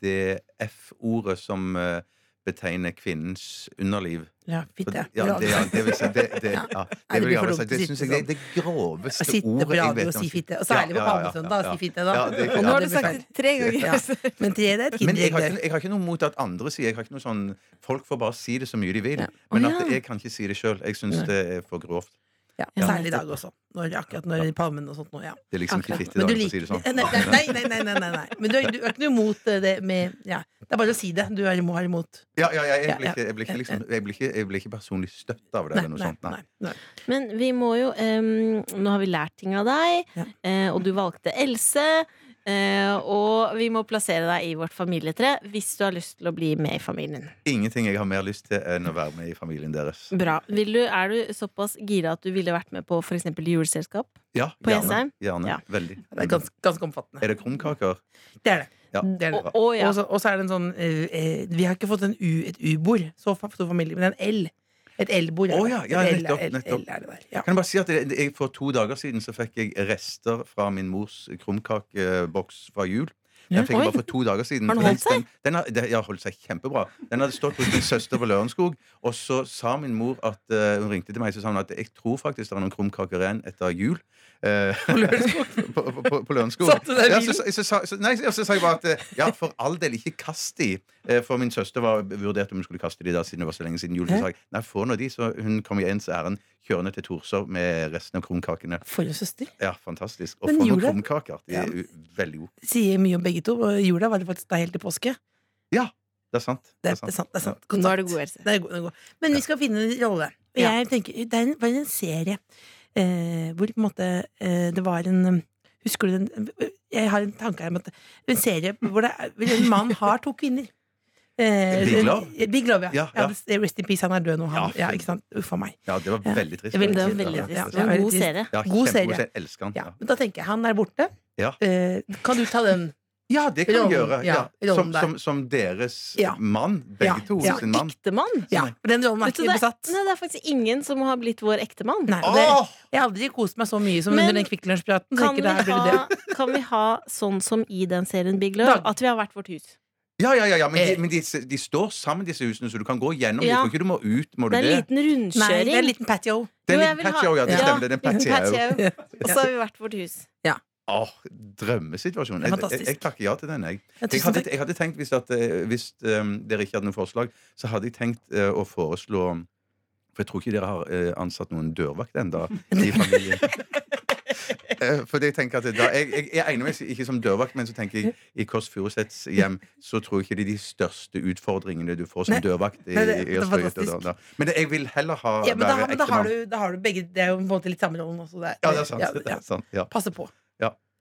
S5: det F-ordet som eh, betegner kvinnens underliv.
S4: Ja,
S5: For-
S4: fitte.
S5: Ja, det, ja, det vil si, det, det,
S4: Ja.
S5: ja,
S4: Nei,
S5: det
S4: det
S5: vil
S4: blir
S5: jeg
S4: for dumt
S5: aldri ha sagt.
S4: å
S5: Det
S4: sitte
S5: syns jeg
S4: sånn.
S5: det, det groveste
S4: Sitte på
S5: ordet jeg
S4: radio og
S5: vet om
S4: si
S5: fins.
S4: fitte. Og særlig på
S5: Ja, ja, ja,
S4: palmesøndag.
S5: ja, ja.
S4: Si fitte da.
S5: Ja, det-
S4: Og
S5: ja,
S3: Nå har
S5: det
S3: du
S5: blir
S3: sagt det tre ganger.
S4: Men tre det er et
S5: Men jeg har,
S4: kinderegg.
S5: ikke, jeg har ikke noe mot at andre sier jeg har ikke noe sånn, Folk får bare si det så mye de vil.
S4: Ja.
S5: Men
S3: Å,
S5: at
S3: ja.
S5: jeg kan ikke si det sjøl. Jeg syns
S4: Nei.
S5: det er for grovt.
S4: Ja,
S3: Ja.
S4: særlig i dag også. Når, akkurat når palmen og sånt nå, ja.
S5: Det er liksom ikke
S3: Akkurat.
S5: fitte i dag, for å si det sånn.
S4: nei, nei, nei, nei, nei, nei, nei. Men du er, du er ikke noe imot eh, det med ja. Det er bare å si det. Du er imot. Er imot.
S5: Ja, ja, ja, jeg blir
S4: Ja,
S5: ikke, jeg blir ikke, liksom, jeg blir ikke, jeg blir ikke personlig støtt av det.
S4: Nei,
S5: eller noe
S4: nei,
S5: sånt, nei.
S4: nei, nei.
S3: Men vi må jo eh, Nå har vi lært ting av deg,
S4: Ja.
S3: eh, og du valgte Else. eh, og vi må plassere deg i vårt familietre hvis du har lyst til å bli med i familien.
S5: Ingenting jeg har mer lyst til enn å være med i familien deres.
S3: Bra. Vil du, er du såpass gira at du ville vært med på f.eks. juleselskap?
S5: Ja,
S3: På
S5: gjerne.
S3: Jessheim?
S5: gjerne.
S3: Ja.
S5: Veldig.
S4: Det er ganske, ganske omfattende.
S5: Er det krumkaker?
S4: Det er det.
S5: Ja.
S4: det, er det.
S3: Å å, ja.
S4: Og, så, og så er det en sånn eh, eh, Vi har ikke fått en U, et U-bord, så fa- stor familie, men en L. Et L-bord. er
S5: Å
S4: det.
S5: ja, ja,
S4: Et L-
S5: nettopp,
S4: L-
S5: nettopp.
S4: L er det der. Ja.
S5: Kan jeg bare si at jeg, jeg, For to dager siden så fikk jeg rester fra min mors krumkakeboks fra jul. Den
S4: Ja,
S5: fikk jeg
S3: oi.
S5: bare for to dager siden.
S3: Har den holdt seg?
S5: Den, den, har, den har holdt seg kjempebra. Den hadde stått hos min søster på Lørenskog, og så sa min mor at eh, Hun ringte til meg så sa hun at jeg tror faktisk det er noen krumkaker igjen etter jul. Eh, på, på, på, på Lørenskog.
S4: Satt du deg
S5: Ja,
S4: vill?
S5: så, så, sa- så, nei, så, så sa jeg bare at eh, ja, for all del, ikke kast de. Eh, For min søster var, vurderte om hun skulle kaste de da, siden det var så lenge siden jul. Så sa jeg nei, få nå de, så hun kom i ens ærend kjørende til Torshov med resten av krumkakene.
S4: For en søster.
S5: Ja, fantastisk. Og
S4: Men
S5: for noen
S4: jula-
S5: krumkaker. De er u- veldig gode.
S4: Sier mye om begge to. Og i jula var det faktisk deg helt til påske.
S5: Ja, det er sant.
S4: Det er, det er sant. Det er sant.
S3: Nå er det god Else.
S4: Det er god, det er god. Men vi skal finne en rolle. Og
S3: Ja.
S4: jeg tenker, det er en, var en serie eh, hvor på en måte eh, det var en um, Husker du den Jeg har en tanke her om at en serie hvor det, er- hvor en mann har to kvinner. Eh,
S5: Big Love?
S4: eh, Big Love, ja.
S5: Ja,
S4: ja,
S5: ja.
S4: det- Rest in peace, han er død nå, han.
S5: Ja,
S4: Ja, ikke sant? Uff a meg.
S5: Ja, det var
S4: Ja.
S5: veldig trist.
S4: Det var
S3: Det var
S5: Ja,
S3: veldig
S5: ja,
S3: trist.
S5: ja.
S3: Det var en
S4: Ja,
S3: god serie.
S5: Ja,
S4: God
S5: kjempegod
S4: serie.
S5: serie. Jeg elsker den.
S4: Ja.
S5: Ja,
S4: Men da tenker jeg, han er borte.
S5: Ja.
S4: Eh, kan du ta den?
S5: ja det kan
S4: Rollen,
S5: vi gjøre.
S4: ja,
S5: Ja. Som,
S4: rollen der.
S5: som, som deres
S4: Ja.
S5: mann. Begge
S4: Ja,
S5: to
S4: ja.
S5: sin mann.
S3: Ektemann?
S5: Sånn,
S4: Ja, for den rollen er
S3: Vet du,
S4: ikke
S3: det,
S4: besatt.
S3: nei, det er faktisk ingen som har blitt vår ektemann.
S4: Nei, og det,
S5: Åh!
S4: jeg har aldri kost meg så mye som
S3: Men
S4: under den Kvikk Lunsj-praten.
S3: Kan, vi
S4: tenker jeg, burde
S3: ha-
S4: det-
S3: kan vi ha sånn som i den serien Big Love?
S4: Dag.
S3: At vi har hvert vårt hus.
S5: Ja, ja, ja, ja, men, de,
S4: Eh.
S5: men de, de står sammen, disse husene, så du kan gå gjennom
S3: Ja.
S5: dem. Ikke du må ut, må du
S3: Det er en
S5: det?
S3: liten
S4: Nei, det er en
S3: rundkjøring.
S4: liten patio.
S5: Det er
S3: Jo, jeg
S5: en liten
S3: vil ha-
S5: patio, ja, det
S4: Ja.
S5: stemmer. Det er en
S3: Liten
S5: patio.
S3: patio. Og så har vi hvert vårt hus.
S5: Åh, drømmesituasjon. Jeg, jeg,
S4: Fantastisk.
S5: jeg takker ja til den, jeg.
S4: Ja,
S5: Jeg
S4: tusen
S5: hadde,
S4: takk.
S5: jeg hadde tenkt, hvis, at, eh, hvis eh, dere ikke hadde noe forslag, så hadde jeg tenkt eh, å foreslå For jeg tror ikke dere har eh, ansatt noen dørvakt ennå i familien. Eh, For jeg tenker at da, jeg, jeg, jeg egner meg ikke som dørvakt, men så tenker jeg i Kåss Furuseths hjem så tror jeg ikke det er de største utfordringene du får som
S4: Nei.
S5: dørvakt. I,
S4: Nei, det- det er
S5: i Østfold Gøte-
S4: fantastisk.
S5: da. Men det- jeg vil heller ha
S4: Ja, men da,
S5: være
S4: men da, har
S5: ektemann.
S4: du, da har du begge Det er jo på en måte litt samme rollen også. Det er,
S5: Ja, det er sant.
S4: ja,
S5: det
S4: ja.
S5: er sant. Ja,
S4: Passe på.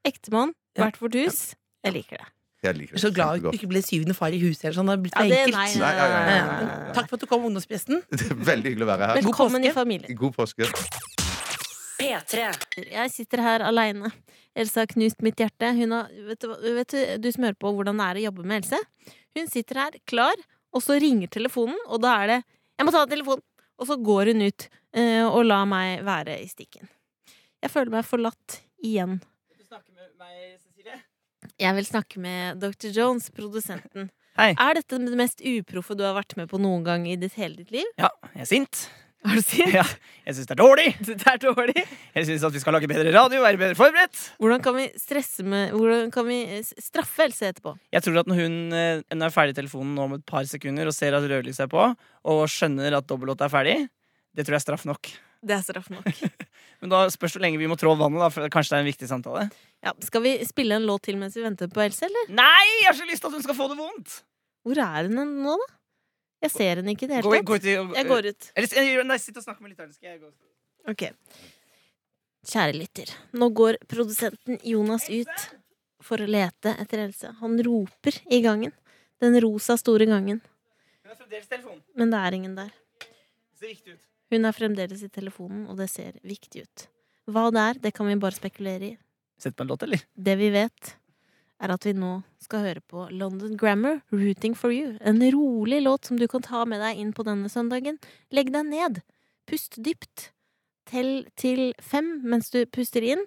S3: Ektemann,
S4: Ja.
S3: hvert vårt hus. Jeg liker det.
S5: jeg
S4: Jeg
S5: liker det.
S4: er så glad at du
S5: Kjempegodt.
S4: ikke ble syvende far i huset. Eller sånn. Det har blitt
S3: Ja,
S4: for
S3: det
S4: enkelt.
S3: nei,
S5: Nei, ja, ja,
S4: Ja,
S5: ja,
S4: ja.
S5: ja, ja.
S4: Takk for at du kom, ungdomspresten.
S5: Det er Veldig hyggelig å være her.
S3: Velkommen i
S4: påske.
S3: familien.
S5: God påske.
S1: P3.
S3: Jeg sitter her aleine. Else har knust mitt hjerte. Hun har, vet, du, hva- vet du, du som hører på hvordan det er å jobbe med Else? Hun sitter her klar, og så ringer telefonen, og da er det 'jeg må ta telefonen', og så går hun ut eh, og lar meg være i stikken. Jeg føler meg forlatt igjen. Jeg vil snakke med Dr. Jones, produsenten.
S6: Hei.
S3: Er dette det mest uproffe du har vært med på noen gang i ditt hele ditt liv?
S6: Ja, jeg er sint.
S3: Har du sett?
S6: Ja, jeg syns det er dårlig.
S3: Det er dårlig.
S6: Jeg syns at vi skal lage bedre radio, være bedre forberedt.
S3: Hvordan kan vi stresse med Hvordan kan vi eh, s- straffe Else etterpå?
S6: Jeg tror at når hun eh, når hun er ferdig i telefonen nå om et par sekunder og ser at rødlys er på, og skjønner at dobbeltlåt er ferdig, det tror jeg er straff nok.
S3: Det er straff nok.
S6: Men da spørs det hvor lenge vi må trå vannet, da, for kanskje det er en viktig samtale.
S3: Ja, skal vi spille en låt til mens vi venter på Else, eller?
S6: Nei, jeg har så lyst til at hun skal få det vondt!
S3: Hvor er hun hen nå, da? Jeg ser henne ikke i det
S6: Gå,
S3: hele tatt.
S6: gå ut i,
S3: Jeg går ut.
S6: Eller, eh, nei, sitt og snakk med lytteren. Skal jeg gå ut?
S3: Ok. Kjære lytter, nå går produsenten Jonas ut for å lete etter Else. Han roper i gangen. Den rosa, store gangen.
S6: Hun er fremdeles i telefonen.
S3: Men det er ingen der.
S6: Det ser viktig ut.
S3: Hun er fremdeles i telefonen, og det ser viktig ut. Hva det er, det kan vi bare spekulere i.
S6: Sett på en låt, eller?
S3: Det vi vet, er at vi nå skal høre på London Grammar, 'Rooting for You'. En rolig låt som du kan ta med deg inn på denne søndagen. Legg deg ned. Pust dypt. Tell til fem mens du puster inn.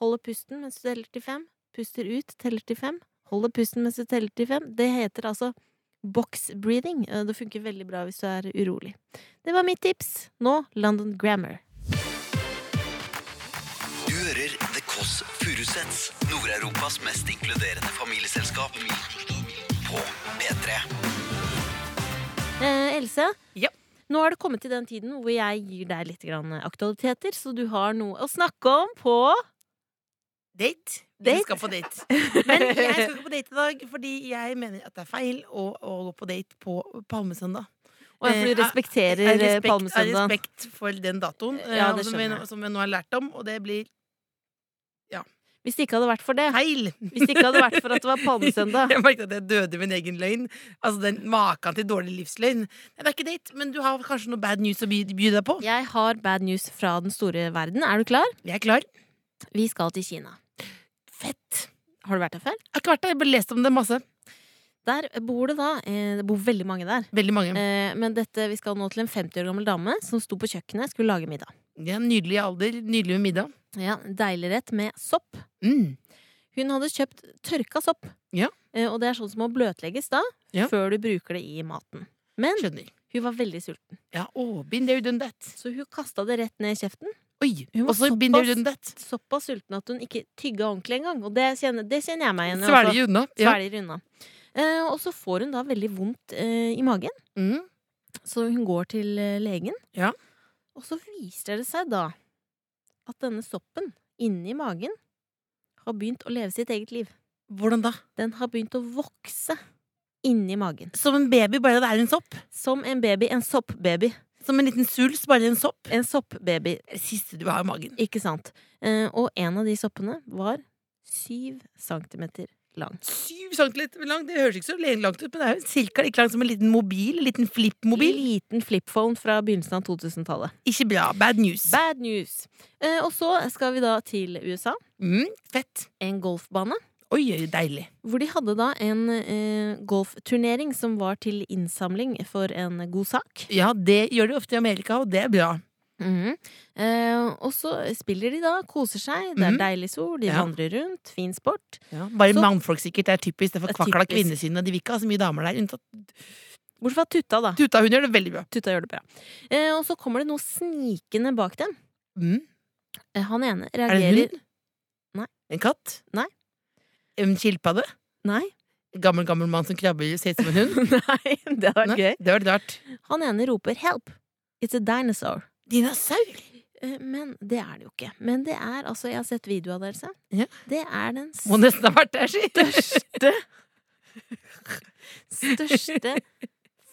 S3: Holder pusten mens du teller til fem. Puster ut, teller til fem. Holder pusten mens du teller til fem. Det heter altså box breathing. Eh, Det funker veldig bra hvis du er urolig. Det var mitt tips. Nå London Grammar.
S2: Du hører The Kåss Furuseths, Nord-Europas mest inkluderende familieselskap. På P3.
S3: Eh, Else,
S4: Ja.
S3: nå har det kommet til den tiden hvor jeg gir deg litt grann eh, aktualiteter, så du har noe å snakke om på
S4: Date.
S3: Date?
S4: Vi skal på date. Men jeg skal ikke på date i dag, fordi jeg mener at det er feil å, å gå på date på palmesøndag.
S3: Og jeg tror du
S4: Eh,
S3: respekterer
S4: Av
S3: eh,
S4: respekt, av
S3: palmesøndagen.
S4: respekt for den datoen eh,
S3: Ja, det
S4: som, vi,
S3: skjønner jeg.
S4: som vi nå har lært om, og det blir
S3: Hvis det ikke hadde vært for det.
S4: feil.
S3: Hvis det ikke hadde vært for at det var palmesøndag.
S4: Jeg merket at jeg døde i min egen løgn. Altså den Maken til dårlig livsløgn. Nei, det er ikke date, men du har kanskje noe bad news å by, by deg på?
S3: Jeg har bad news fra den store verden. Er du klar?
S4: Jeg er klar.
S3: Vi skal til Kina.
S4: Fett.
S3: Har du vært der før?
S4: Jeg har ikke vært der, jeg bare lest om det masse.
S3: Der bor det da eh, Det bor veldig mange der.
S4: Veldig mange.
S3: Eh, men dette, vi skal nå til en 50 år gammel dame som sto på kjøkkenet skulle lage middag.
S4: De er nydelig i alder, nydelig med middag.
S3: Ja, Deilig rett med sopp.
S4: Mm.
S3: Hun hadde kjøpt tørka sopp.
S4: Ja.
S3: Eh, Og det er sånn som må bløtlegges da,
S4: Ja.
S3: før du bruker det i maten. Men
S4: Skjønner.
S3: hun var veldig sulten,
S4: Ja, oh, been there, done that.
S3: så hun kasta det rett ned i kjeften.
S4: Oi,
S3: Hun var
S4: og så been
S3: såpass-
S4: there, done that.
S3: Såpass sulten at hun ikke tygga ordentlig engang. Og det kjenner, det kjenner jeg meg igjen i. også.
S4: Svelge unna. Ja.
S3: Svelger unna. Eh, og så får hun da veldig vondt eh, i magen,
S4: Mm.
S3: så hun går til eh, legen.
S4: Ja.
S3: Og så viser det seg da at denne soppen inni magen har begynt å leve sitt eget liv.
S4: Hvordan da?
S3: Den har begynt å vokse inni magen.
S4: Som en baby, bare det er en sopp.
S3: Som en baby. En soppbaby.
S4: Som en liten suls, bare en sopp.
S3: En soppbaby,
S4: Det siste du har i magen.
S3: ikke sant? Eh, og en av de soppene var syv centimeter lang.
S4: Syv centimeter lang. Det høres ikke så langt ut, men det er jo cirka like langt som en liten mobil. En liten flippmobil.
S3: Liten flipphone fra begynnelsen av 2000-tallet.
S4: Ikke bra. Bad news.
S3: Bad news! Eh, og så skal vi da til USA.
S4: Mm, fett.
S3: En golfbane.
S4: Oi, oi, deilig.
S3: Hvor de hadde da en eh, golfturnering som var til innsamling for en god sak.
S4: Ja, det gjør de ofte i Amerika, og det er bra.
S3: Mhm. Eh, og så spiller de da, koser seg, det er
S4: Mhm.
S3: deilig sol, de
S4: Ja.
S3: vandrer rundt, fin sport.
S4: Bare
S3: Så-
S4: mannfolk sikkert, det er typisk. Det er
S3: Det
S4: for
S3: er
S4: kvakla
S3: typisk.
S4: kvinnesynet, de vil ikke ha så mye damer der. Unntatt
S3: Bortsett fra Tutta, da.
S4: Tuta, hun gjør det veldig bra.
S3: Tutta gjør det bra. Eh, og så kommer det noe snikende bak dem.
S4: Mm.
S3: Eh, Han ene
S4: Er det en
S3: reagerer
S4: hund?
S3: Nei.
S4: En katt?
S3: Nei.
S4: En skilpadde?
S3: Nei.
S4: En Gammel, gammel mann som krabber ser ut som en hund?
S3: Nei, det hadde vært
S4: Nei,
S3: gøy.
S4: Det var litt rart.
S3: Han ene roper 'help'. It's a dinosaur.
S4: Dinosaur?
S3: Eh, Men det er det jo ikke. Men det er altså Jeg har sett video av dere.
S4: Ja.
S3: Det er den
S4: Må nesten ha vært der, si.
S3: største Største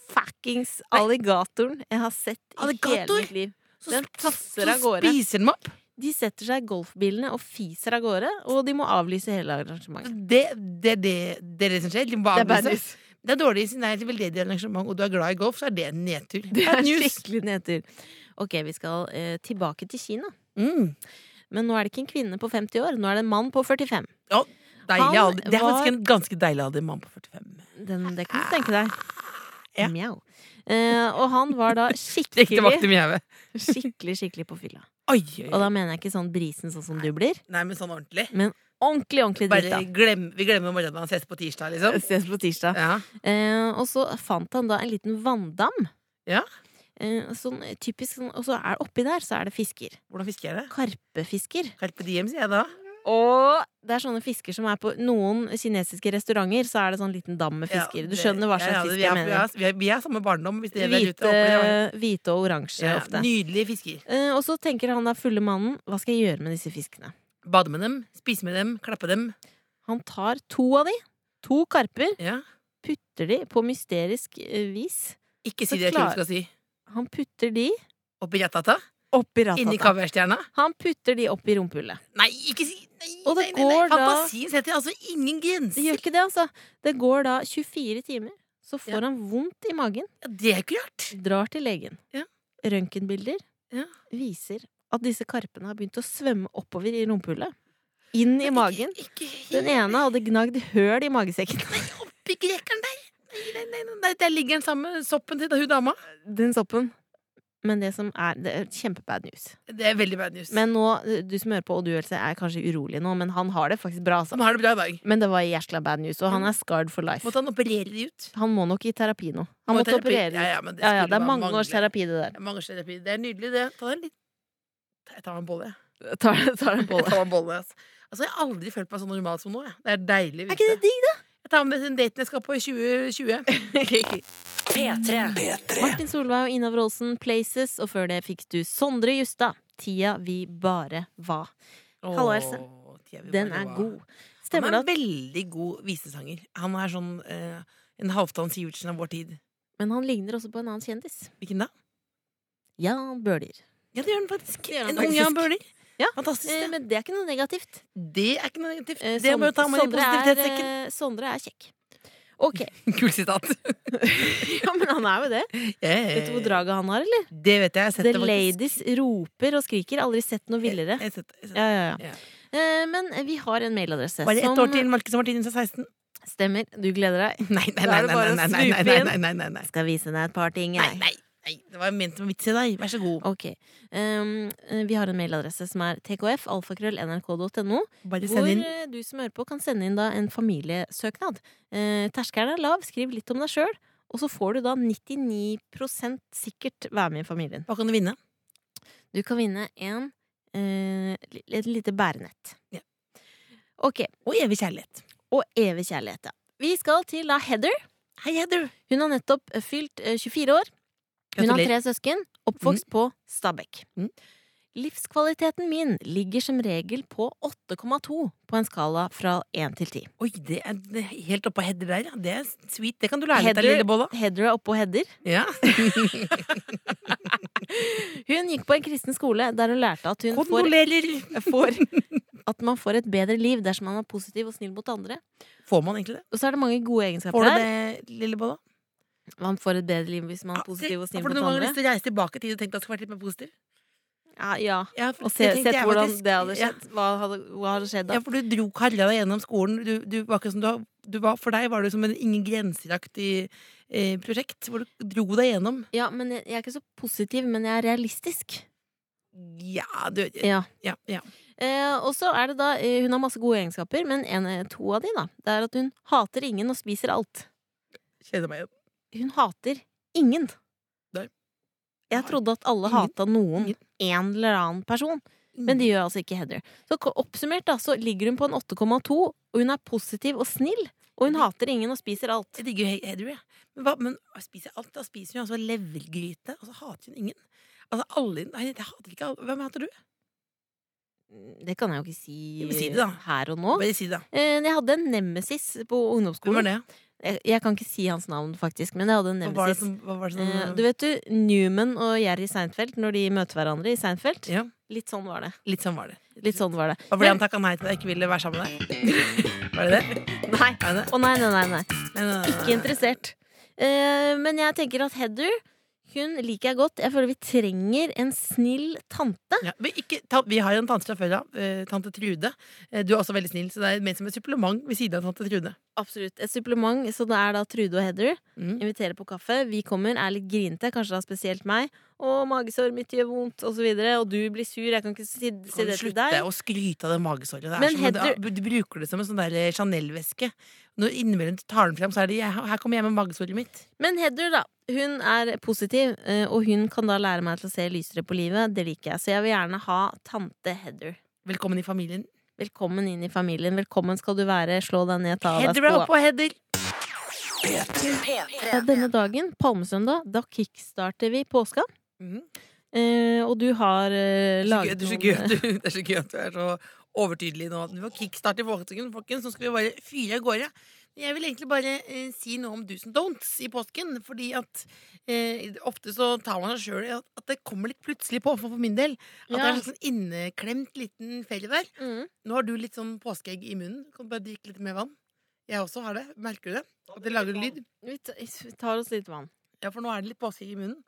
S3: fuckings alligatoren jeg har sett i
S4: Alligator?
S3: hele mitt liv.
S4: Så
S3: Den
S4: sp-
S3: tasser
S4: så
S3: av gårde.
S4: Spiser dem opp.
S3: De setter seg i golfbilene og fiser av gårde, og de må avlyse hele arrangementet.
S4: Det det er det, det, er det som skjer. De bare
S3: Det er bad
S4: avlyser.
S3: news.
S4: Det er dårlig siden det er et veldedig arrangement, og du er glad i golf, så er det en nedtur.
S3: Det
S4: Bad
S3: er
S4: news.
S3: skikkelig nedtur. Ok, vi skal eh, tilbake til Kina.
S4: Mm.
S3: Men nå er det ikke en kvinne på 50 år, nå er det en mann på 45.
S4: Deilig
S3: Han
S4: alder. Det er faktisk
S3: var-
S4: en ganske deilig alder, mann på 45.
S3: Den, det kan du tenke deg.
S4: Ja.
S3: Mjau. Eh, og han var da
S4: Gikk tilbake
S3: skikkelig,
S4: til mjauet.
S3: skikkelig, skikkelig på fylla.
S4: Oi,
S3: Og
S4: oi, oi.
S3: da mener jeg ikke sånn brisen sånn som du blir.
S4: Nei, men sånn ordentlig.
S3: Mm, Ordentlig, ordentlig
S4: Bare
S3: drita.
S4: glem, vi glemmer morgenen hans ses på tirsdag, liksom.
S3: Ses på tirsdag.
S4: Ja.
S3: Eh, og så fant han da en liten vanndam.
S4: Ja.
S3: eh, sånn typisk sånn, Og så er det oppi der, så er det fisker.
S4: Hvordan fisker jeg det?
S3: Karpefisker.
S4: Carpe diem, sier jeg da.
S3: Og det er sånne fisker som er på noen kinesiske restauranter, så er det sånn liten dam med
S4: Ja,
S3: fisker. Du
S4: det-
S3: skjønner hva
S4: ja,
S3: slags
S4: ja,
S3: fisk
S4: vi
S3: jeg
S4: er- Vi
S3: mener.
S4: er, vi er, vi er samme barndom. Hvis det der ute,
S3: Hvite, eh,
S4: håper dere-
S3: hvite og oransje
S4: ja,
S3: ofte.
S4: Nydelige fisker.
S3: Eh, Og så tenker han der fulle mannen, hva skal jeg gjøre med disse fiskene?
S4: Bade med dem, spise med dem, klappe dem.
S3: Han tar to av de, to karper,
S4: Ja.
S3: putter de på mysterisk eh, vis.
S4: Ikke
S3: Så
S4: si det jeg tror
S3: klar-
S4: du skal si.
S3: Han putter de
S4: Oppi ratata?
S3: oppi ratata.
S4: Inni kaviarstjerna?
S3: Han putter de oppi rumpehullet.
S4: Nei, ikke si nei,
S3: Og det
S4: nei, nei, nei.
S3: går da-
S4: Fantasien setter altså ingen
S3: Det
S4: grenser.
S3: gjør ikke det, altså. Det går da 24 timer, så får
S4: Ja.
S3: han vondt i magen,
S4: Ja, det er ikke rart.
S3: drar til legen.
S4: Ja.
S3: Røntgenbilder
S4: Ja.
S3: viser at disse karpene har begynt å svømme oppover i rumpehullet. Inn i magen.
S4: Ikke, ikke,
S3: Den ene hadde gnagd høl i magesekken.
S4: oppi grekeren der. Nei, nei, nei, nei, der ligger den samme soppen til hun dama.
S3: Den soppen. Men det som er, det er kjempebad news.
S4: Det er veldig bad news.
S3: Men nå, du som hører på, og du Else, er kanskje urolig nå, men han har det faktisk bra. Altså.
S4: Han har det bra i dag.
S3: Men det var jæskla bad news, og han er scarred for life.
S4: Måtte han operere de ut?
S3: Han må nok i terapi nå. Han måtte
S4: terapi.
S3: operere.
S4: Ja, ja, men det,
S3: Ja, ja,
S4: skulle
S3: det er
S4: bare
S3: mange års
S4: mangle.
S3: terapi, det der.
S4: Det er Mange års terapi. Det er nydelig, det. Ta deg en litt Jeg tar meg en bolle. jeg.
S3: Tar, tar den på
S4: Jeg
S3: det.
S4: tar meg en bolle ass. Altså, jeg har aldri følt meg så normal som nå. Jeg. Det er deilig. å
S3: Er ikke det
S4: vite.
S3: digg,
S4: Jeg tar med den daten jeg skal på i 2020.
S3: da?
S1: P3.
S3: Martin Solveig og Ina Wroldsen, Places, og før det fikk du Sondre Justad. Tida vi bare var. Hallo, Else.
S4: Åh, tida vi
S3: Den
S4: bare
S3: er
S4: var.
S3: god.
S4: Han
S3: Stemmer
S4: er
S3: det
S4: en
S3: at
S4: veldig god visesanger. Han er sånn eh, en Halvdan Sivertsen av vår tid.
S3: Men han ligner også på en annen kjendis.
S4: Hvilken da?
S3: Jan Bøhler.
S4: Ja, det gjør han faktisk.
S3: Det gjør han
S4: en ung Jan
S3: faktisk.
S4: Bøhler.
S3: Ja,
S4: Fantastisk.
S3: Eh,
S4: det.
S3: Men det er ikke noe negativt.
S4: det er ikke noe negativt.
S3: Eh,
S4: det
S3: Son-
S4: må du ta med i
S3: Sondre er,
S4: positivitetssekken.
S3: eh, Sondre er kjekk. Ok.
S4: Kult sitat.
S3: Ja, men han er jo det.
S4: Eh,
S3: Vet du hvor draget han har, eller?
S4: Det vet jeg. Jeg har sett
S3: The
S4: det faktisk.
S3: Ladies roper og skriker. Aldri sett noe villere.
S4: Jeg har sett det, jeg har sett det.
S3: Ja, ja,
S4: Eh, Ja.
S3: ja. Eh, Men vi har en mailadresse
S4: Bare ett år til
S3: som
S4: Marcus og Martinus er 16.
S3: stemmer. Du gleder deg.
S4: Nei, nei,
S3: Da
S4: nei,
S3: er det
S4: nei,
S3: bare å
S4: nei, nei,
S3: snupe
S4: nei, nei,
S3: inn.
S4: nei, nei, nei, nei.
S3: Skal vise deg et par ting,
S4: Nei,
S3: jeg.
S4: nei, nei. Det var ment som en vits i deg. Vær så god.
S3: Ok. Um, eh, vi har en mailadresse som er tkf.alfakrøll.nrk.no,
S4: Bare
S3: hvor
S4: send inn.
S3: eh, du som hører på, kan sende inn da en familiesøknad. Eh, Terskelen er lav, skriv litt om deg sjøl, og så får du da 99 sikkert være med i familien.
S4: Hva kan du vinne?
S3: Du kan vinne en, eh, li- et lite bærenett.
S4: Ja.
S3: Ok,
S4: Og evig kjærlighet.
S3: og evig kjærlighet, ja. Vi skal til da Heather.
S4: Hei, Heather.
S3: Hun har nettopp eh, fylt eh, 24 år. Hun har
S4: Gratulerer.
S3: tre søsken, oppvokst på Stabekk.
S4: Mm.
S3: Livskvaliteten min ligger som regel på 8,2 på en skala fra 1 til 10.
S4: Oi, det er det er helt oppå Heather der, ja. Det er sweet. Det kan du lære litt av,
S3: Heather-
S4: lille bolla.
S3: Heather er oppå Heather.
S4: Ja.
S3: Hun gikk på en kristen skole der hun lærte at hun får,
S4: Kondolerer.
S3: får at man får et bedre liv dersom man er positiv og snill mot andre.
S4: Får man egentlig det?
S3: Og så er det mange gode egenskaper
S4: Får du
S3: der.
S4: det, lille bolla?
S3: Man får et bedre liv hvis man
S4: Ja,
S3: er positiv og
S4: Ah, se,
S3: snill
S4: Får du
S3: mot
S4: noen gang lyst
S3: andre.
S4: til å reise tilbake i tid og tenke at du skulle vært litt mer positiv?
S3: Ja, ja.
S4: Ja, for
S3: Og
S4: det
S3: se,
S4: tenkte
S3: sett
S4: jeg
S3: hvordan
S4: faktisk.
S3: det hadde
S4: Ja.
S3: skjedd. Hva hadde, hva hadde skjedd da?
S4: Ja, for du dro Karla deg gjennom skolen. Du, du var ikke som du, har- du var, for deg var du som en ingen grenseraktig eh, prosjekt, hvor du dro deg gjennom.
S3: Ja, men jeg, jeg er ikke så positiv, men jeg er realistisk.
S4: Ja, du
S3: Ja.
S4: Ja, ja.
S3: Eh, og så er det da, eh, Hun har masse gode egenskaper, men en, eh, to av de da Det er at hun hater ingen og spiser alt.
S4: Kjenner meg igjen.
S3: Hun hater ingen.
S4: Nei.
S3: Jeg trodde at alle
S4: Ingen.
S3: hata noen.
S4: Ingen. Mm.
S3: En eller annen person. Men det gjør altså ikke Heather. Så ko- oppsummert da, så ligger hun på en 8,2, og hun er positiv og snill. Og
S4: Mm.
S3: hun hater ingen og spiser alt.
S4: Jeg digger jo Hedru, jeg. Men, hva, men hva spiser jeg alt? Da spiser hun altså levergryte, og så hater hun ingen. Altså alle Nei, jeg hater ikke alle. Hvem hater du?
S3: Det kan jeg jo ikke
S4: Jo,
S3: si,
S4: si det da.
S3: her og nå.
S4: Bare si det, da.
S3: Eh, Jeg hadde en nemesis på
S4: Hvem
S3: ungdomsskolen.
S4: var det?
S3: Jeg, jeg kan ikke si hans navn, faktisk, men jeg hadde en
S4: Hva var det
S3: nemesis.
S4: som, hva var det som
S3: Eh, du vet du, Newman og Jerry Seinfeld, når de møter hverandre i Seinfeld
S4: Ja.
S3: Litt sånn var det.
S4: Litt sånn var det.
S3: Litt sånn var det.
S4: Hva var det han takka nei til da jeg ikke ville være sammen med deg? Var det det?
S3: Nei!
S4: Er det det?
S3: Å nei, nei, nei, nei.
S4: Nei, nei, nei,
S3: Ikke interessert. Eh, men jeg tenker at Heather hun liker jeg godt. Jeg føler vi trenger en snill tante.
S4: Ja, men ikke, ta, vi har jo en tante fra før av, eh, tante Trude. Eh, du er også veldig snill, så det er ment som et supplement ved siden av tante Trude.
S3: Absolutt. Et supplement. Så det er da Trude og Heather.
S4: Mm.
S3: Inviterer på kaffe. Vi kommer, er litt grinete, kanskje da spesielt meg. 'Å, magesår mitt gjør vondt', og så videre. Og du blir sur. Jeg kan ikke si, si
S4: Kan du
S3: det til
S4: slutte
S3: deg.
S4: å skryte av det magesåret. Det er
S3: Men
S4: som, en-
S3: Heather-
S4: du bruker det som en sånn der eh, Chanel-veske. Når innimellom du tar den fram, så er det ja, 'her kommer jeg med magesåret mitt'.
S3: Men Heather, da. Hun er positiv, eh, og hun kan da lære meg til å se lysere på livet. Det liker jeg. Så jeg vil gjerne ha tante Heather.
S4: Velkommen i familien.
S3: Velkommen inn i familien. Velkommen skal du være. Slå deg ned, ta av deg
S4: Heather er
S3: skoa.
S4: oppå, Heather!
S3: Ja, Denne dagen, palmesøndag, da kickstarter vi påska.
S4: Mhm.
S3: Eh, og du har eh,
S4: Det er
S3: laget
S4: så gøy at du- det er så gøy at du er så overtydelig nå. Du var kickstart i påsken, folkens. Nå skal vi bare fyre av gårde. Jeg vil egentlig bare eh, si noe om do's and don'ts i påsken. Fordi at eh, ofte så tar man seg sjøl i at, at det kommer litt plutselig på, for, for min del. At det er
S3: Ja.
S4: en sånn inneklemt liten ferie der.
S3: Mhm.
S4: Nå har du litt sånn påskeegg i munnen. Kan du bare drikke litt mer vann? Jeg også har det. Merker du det? At det lager lyd?
S3: Vi ta- vi tar oss litt vann.
S4: Ja, for nå er det litt påskeegg i munnen.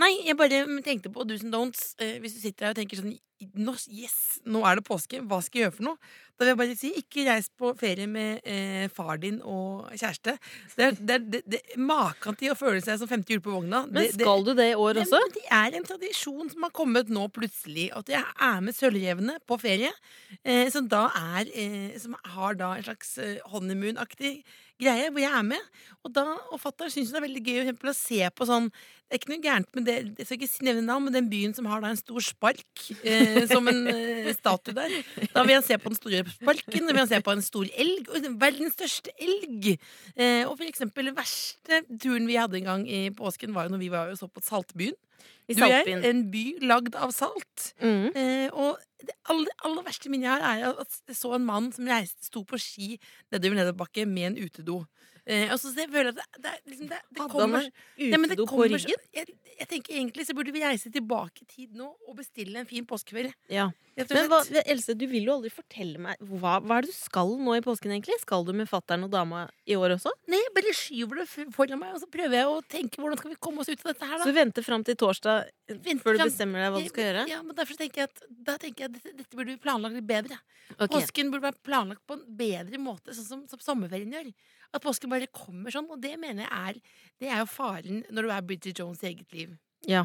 S4: Nei, jeg bare tenkte på do's and don'ts. Eh, hvis du sitter her og tenker sånn nå, Yes, nå er det påske. Hva skal jeg gjøre for noe? Da vil jeg bare si ikke reis på ferie med eh, far din og kjæreste. Det er, det er det, det, Maken til å føle seg som femte hjul på vogna.
S3: Men
S4: Det- det-
S3: skal du det i år
S4: det,
S3: også?
S4: men det er en tradisjon som har kommet nå plutselig. At jeg er med Sølvrevene på ferie. Eh, som da er eh, Som har da en slags eh, honeymoon-aktig greie, hvor jeg er med. Og da, og fatter'n syns det er veldig gøy for eksempel, å se på sånn Det er ikke noe gærent med det, jeg skal ikke si- nevne navn, men den byen som har da en stor spark eh, som en eh, statue der. Da vil han se på den store sparken, da vil han se på en stor elg. Og verdens største elg! Eh, og for eksempel den verste turen vi hadde en gang i påsken, var jo når vi var og så på Saltbyen.
S3: I
S4: Du og jeg,
S3: Saltbyen.
S4: en by lagd av salt.
S3: Mhm.
S4: Eh, og det aller, aller verste minnet jeg har, er at jeg så en mann som reiste, sto på ski nedover nedoverbakke med en utedo. Eh, og så jeg føler jeg at det, det, er liksom, det, det
S3: Hadde han
S4: kommer
S3: en
S4: Nei, men det
S3: Utedo på
S4: kommer så-
S3: ryggen?
S4: Jeg, jeg tenker egentlig så burde vi reise tilbake i tid nå og bestille en fin påskekveld.
S3: Ja.
S4: rett og
S3: Men hva,
S4: slett.
S3: Else, du vil jo aldri fortelle meg hva, hva er det du skal nå i påsken, egentlig? Skal du med fatter'n og dama i år også?
S4: Nei, jeg bare skyver det f- foran meg, og så prøver jeg å tenke hvordan skal vi komme oss ut av dette her, da.
S3: Så vente fram til torsdag
S4: Vente
S3: før du
S4: fram-
S3: bestemmer deg hva du skal
S4: Ja,
S3: gjøre?
S4: men- Ja, men derfor tenker jeg at, da tenker jeg at dette, dette burde vi planlagt litt bedre.
S3: Ok.
S4: Påsken burde vært planlagt på en bedre måte, sånn som, som sommerferien gjør. At påsken bare kommer sånn, og det mener jeg er Det er jo faren når du er Bridget Jones i eget liv.
S3: Ja.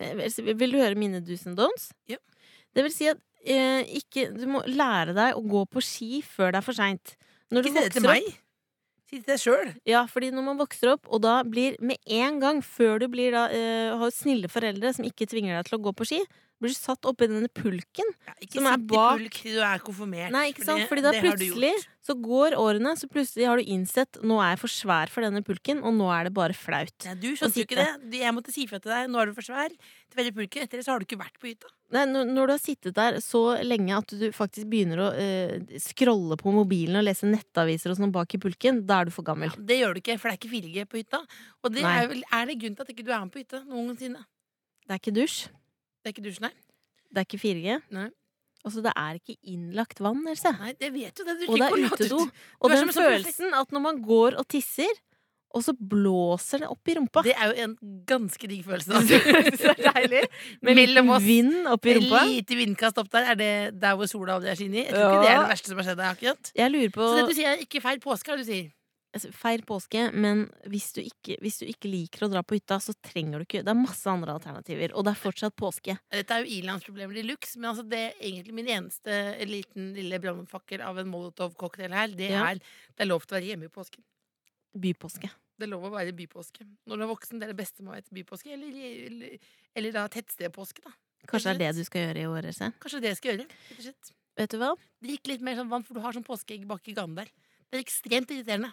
S3: Eh, Else, Vil vil du høre mine do's and don'ts?
S4: Ja.
S3: Det vil si at eh, ikke, du må lære deg å gå på ski før det er for seint. Når
S4: Ikke si det til meg. Si det til deg sjøl.
S3: Ja, fordi når man vokser opp, og da blir med en gang, før du blir da, eh, har snille foreldre som ikke tvinger deg til å gå på ski, blir du satt oppi denne pulken.
S4: Ja, ikke
S3: Som
S4: sitt
S3: er
S4: i
S3: bak-
S4: pulk til du er konfirmert.
S3: Nei, ikke sant? Fordi da
S4: det har du
S3: plutselig
S4: gjort.
S3: så går årene, så plutselig har du innsett nå er jeg for svær for denne pulken, og nå er det bare flaut.
S4: Nei, du skjønte
S3: sitte.
S4: jo ikke det. Du- Jeg måtte si fra til deg. Nå er du for svær. Til veldig pulken. Etter det så har du ikke vært på hytta.
S3: Nei, når, når du har sittet der så lenge at du faktisk begynner å eh, scrolle på mobilen og lese nettaviser og sånn bak i pulken, da er du for gammel.
S4: Det gjør du ikke, for det er ikke 4G på hytta. Og det
S3: Nei.
S4: er, vel, er det grunnen til at ikke du er med på hytta noensinne.
S3: Det er ikke dusj.
S4: Det er ikke dusj, nei.
S3: Det er ikke 4G.
S4: Nei.
S3: Altså, det er ikke innlagt vann, Else.
S4: Nei, det vet jo det. Du
S3: Og det
S4: trenger
S3: er
S4: ikke å late
S3: utedo.
S4: ut.
S3: Og
S4: Du er
S3: den
S4: som en sånn perfekt-
S3: følelsen at når man går og tisser, og så blåser det opp i rumpa.
S4: Det er jo en ganske digg følelse. Altså.
S3: deilig. Med litt
S4: Mellom oss.
S3: vind opp i
S4: Et
S3: rumpa.
S4: lite vindkast opp der. Er det der hvor sola aldri er skinnet? Jeg tror
S3: Ja.
S4: ikke det er det verste som har skjedd deg. akkurat
S3: Jeg lurer på
S4: Så det du sier er ikke feil påske, er det du sier.
S3: altså, Feir påske, men hvis du, ikke, hvis du ikke liker å dra på hytta, så trenger du ikke Det er masse andre alternativer, og det er fortsatt påske.
S4: Dette er jo ilandsproblemer i luxe, men altså det er egentlig min eneste liten lille brannfakkel av en molotov-cocktail her, det
S3: Ja.
S4: er det er lov til å være hjemme i påsken.
S3: Bypåske.
S4: Det er lov å være i bypåske. Når du er voksen, det er det beste med å være i bypåske. Eller, eller, eller da tettstedpåske, da.
S3: Kanskje det er det du skal gjøre i år, Else.
S4: Kanskje det jeg skal gjøre. rett og slett.
S3: Vet du hva?
S4: Drikk litt mer sånn vann, for du har sånn påskeegg bak i ganen der. Det er ekstremt irriterende.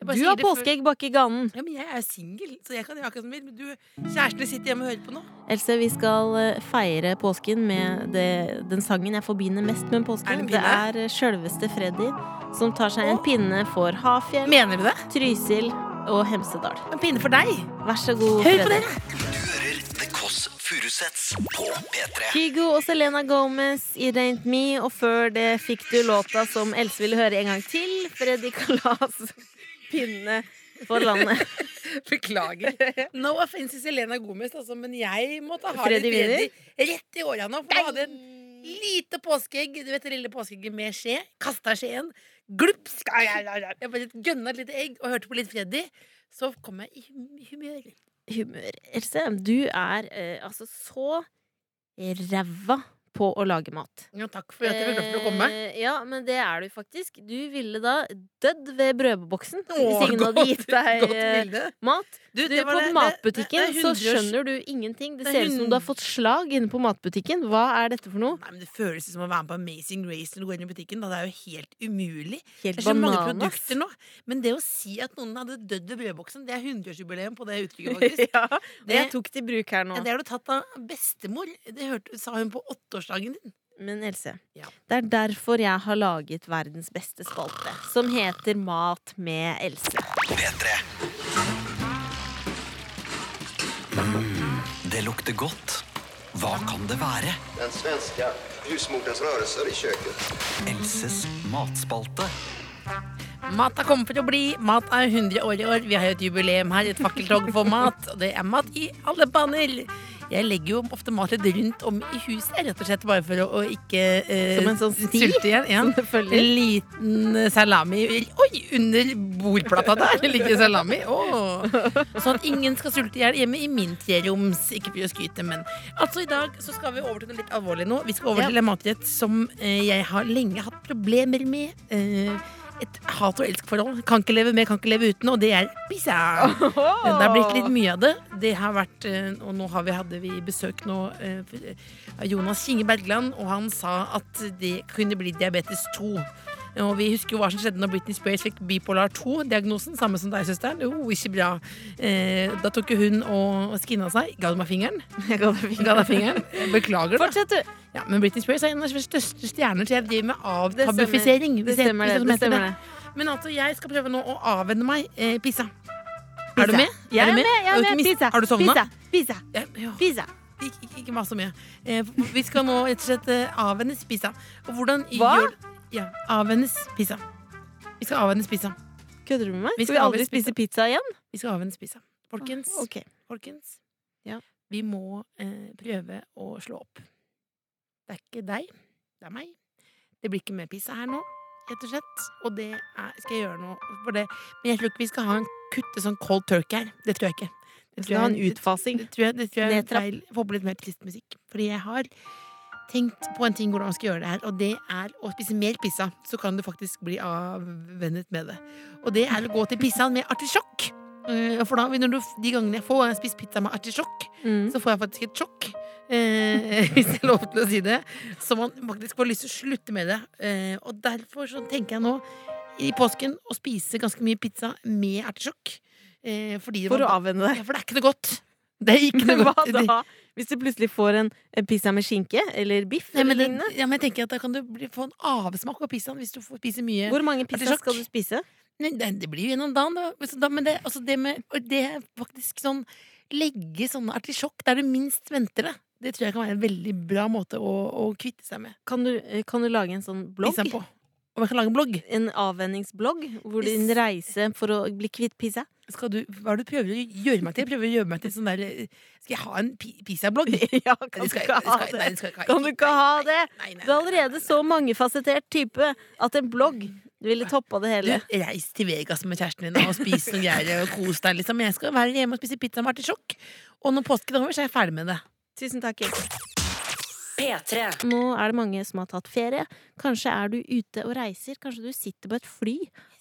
S4: Jeg bare
S3: Du
S4: sier
S3: har
S4: det for-
S3: påskeegg bak i ganen!
S4: Ja, men jeg er singel, så jeg kan gjøre akkurat som jeg vil. Men du, kjæresten din sitter hjemme og hører på nå.
S3: Else, vi skal eh, feire påsken med det, den sangen jeg forbinder mest med
S4: Er det
S3: påsken.
S4: en
S3: Det
S4: pinne?
S3: er eh, sjølveste Freddy som tar seg en pinne for Hafjell,
S4: Mener du det?
S3: Trysil og Hemsedal.
S4: En pinne for deg.
S3: Vær så god,
S4: Hør på
S3: Freddy.
S2: Du hører The Kåss Furuseths på P3.
S3: Kygo og Selena Gomez i Rent Me, og før det fikk du låta som Else ville høre en gang til. Freddy Kalas pinne for landet.
S4: Beklager. No offense til Selena Gomez, altså, men jeg måtte ha
S3: Freddy
S4: litt
S3: Wiener?
S4: Freddy rett i åra nå. For hun hadde en lite påskeegg, du vet det lille påskeegget med skje. Kasta skjeen. Glupp! ska- Jeg bare gønna et lite egg og hørte på litt Freddy. Så kom jeg i hum- humør.
S3: humør. Else, du er eh, altså så ræva på å lage mat.
S4: Jo, takk for at jeg fikk lov til å komme.
S3: Eh, ja, men det er du faktisk. Du ville da dødd ved brødboksen Eh, hvis
S4: Å,
S3: ingen hadde gitt deg
S4: godt
S3: eh,
S4: bilde.
S3: mat.
S4: Du,
S3: Du,
S4: det var
S3: på
S4: det- det-
S3: matbutikken
S4: det- det er
S3: så
S4: 100
S3: skjønner du ingenting. Det,
S4: det er
S3: ser ut som du har fått slag inne på matbutikken. Hva er dette for noe?
S4: Nei, men Det føles som å være med på Amazing Race når du går inn i butikken. Da det er jo helt umulig. Det
S3: Helt
S4: er så mange
S3: bananas.
S4: produkter nå. Men det å si at noen hadde dødd ved brødboksen, det er 100-årsjubileum på det uttrykket, faktisk.
S3: Det jeg tok til bruk her nå.
S4: Ja, Det har du tatt av bestemor. Det hørte, sa hun på åtteårsdagen din.
S3: Men Else,
S4: Ja.
S3: det er derfor jeg har laget verdens beste spalte, som heter Mat med Else.
S2: P3. Mm, det lukter godt. Hva kan det være?
S7: Den svenska husmorens rörelser i köket.
S2: Elses matspalte.
S4: Mat har kommet for å bli. Mat er 100 år i år. Vi har jo et jubileum her, et fakkeltog for mat. Og det er mat i alle baner. Jeg legger jo ofte mat litt rundt om i huset, rett og slett bare for å, å ikke eh,
S3: Som en sånn sti,
S4: sulte igjen. Ja.
S3: som det følger.
S4: En liten eh, salami Oi, under bordplata der ligger salami. Åh. Sånn at ingen skal sulte i hjel hjemme i min treroms. Ikke for å skryte, men Altså, i dag så skal vi over til noe litt alvorlig nå. Vi skal over
S3: Ja.
S4: til en matrett som eh, jeg har lenge hatt problemer med. Eh, et hat- og elsk-forhold. Kan ikke leve med, kan ikke leve uten, og det er pizza. Det har blitt litt mye av det. Det har vært, eh, og nå har vi, hadde vi besøk nå eh, av Jonas Kinge Bergland, og han sa at det kunne bli diabetes 2. Og vi husker jo hva som skjedde når Britney Spears fikk bipolar 2-diagnosen. Samme som deg, søsteren. Jo, ikke bra. Eh, da tok jo hun og skinna seg. Ga du meg fingeren?
S3: Jeg ga deg
S4: Ga deg fingeren? Beklager, da.
S3: Fortsett, du.
S4: Ja, men Britney Spears er en av de største stjerner, så jeg driver med
S3: Det stemmer.
S4: avtabufisering.
S3: Det stemmer det. det, stemmer det.
S4: Men altså, jeg skal prøve nå å avvenne meg eh, pizza. Er du med?
S3: Jeg
S4: Er
S3: er
S4: du
S3: med. Jeg
S4: Har
S3: er
S4: du ikke
S3: med.
S4: mist-
S3: Pizza.
S4: Har du sovna?
S3: Pizza. Pizza.
S4: Ja, ja.
S3: Pizza.
S4: Ikke, ikke, ikke mas så mye. Eh, vi skal nå rett og slett eh, avvennes pizza. Og hvordan
S3: Hva?
S4: gjør- Ja, avvennes pizza. Vi skal avvennes pizza.
S3: Kødder du med meg?
S4: Vi
S3: Vi skal
S4: skal
S3: vi aldri
S4: aldri
S3: spise pizza igjen?
S4: Vi skal avvennes pizza. Folkens,
S3: Ok.
S4: folkens.
S3: Ja.
S4: Vi må eh, prøve å slå opp. Det er ikke deg, det er meg. Det blir ikke mer pizza her nå, rett og slett. Og det er, skal jeg gjøre nå for det. Men jeg tror ikke vi skal ha en kutte sånn cold turkey her. Det tror jeg ikke. Det
S3: Vi
S4: tror jeg
S3: skal ha
S4: er
S3: Altså, en utfasing.
S4: det tror jeg, det tror jeg er
S3: Nedtrapp.
S4: feil. Få på litt mer trist musikk. Fordi jeg har tenkt på en ting hvordan man skal gjøre det her, og det er å spise mer pizza. Så kan du faktisk bli avvennet med det. Og det er å gå til pizzaen med artisjokk. Eh, For da, når du, de gangene jeg får spist pizza med artisjokk,
S3: Mm.
S4: så får jeg faktisk et sjokk. Eh, hvis jeg er lov til å si det. Så man faktisk får lyst til å slutte med det. Eh, og derfor så tenker jeg nå i påsken å spise ganske mye pizza med ertesjokk. Eh, fordi det
S3: For
S4: var-
S3: å avvenne deg.
S4: ja, for det er ikke noe godt. Det er ikke noe
S3: Hva
S4: godt. Det-
S3: da? Hvis du plutselig får en en pizza med skinke eller biff
S4: Nei, men,
S3: eller
S4: det,
S3: lignende?
S4: ja, men jeg tenker at Da kan du bli, få en avsmak av pizzaen hvis du får spise mye.
S3: Hvor mange pizza
S4: Artisjokk.
S3: skal du spise?
S4: Nei, det, det blir jo gjennom dagen, da. Så da men det, altså det, med, og det er faktisk sånn Legge sånne artisjokk der du minst venter det. Det tror jeg kan være en veldig bra måte å, å kvitte seg med
S3: Kan du, kan du lage en sånn blogg?
S4: pizzaen på. Og jeg kan lage en blogg.
S3: En avvenningsblogg? Hvor din
S4: Yes.
S3: reise for å bli kvitt pizza?
S4: Skal du, hva er det du prøver å gjøre meg til? Prøver å gjøre meg til sånn der eh, Skal jeg ha en pi- pizzablogg?
S3: Ja, kan
S4: Nei,
S3: du
S4: det skal jeg-
S3: ikke ha
S4: det skal jeg- nei,
S3: det?
S4: det skal jeg ikke ha.
S3: Kan du ikke ha
S4: Nei,
S3: det?
S4: nei, nei, nei,
S3: Du er allerede så mangefasettert type at en blogg ville toppa det hele.
S4: Du, reis til Vegas med kjæresten din og spis noe greier og kos deg. Liksom. Jeg skal være hjemme og spise pizza med artisjokk. Og når påsken er over, så er jeg ferdig med det.
S3: Tusen takk. Else.
S1: P3.
S3: Nå er det mange som har tatt ferie. Kanskje er du ute og reiser. Kanskje du sitter på et fly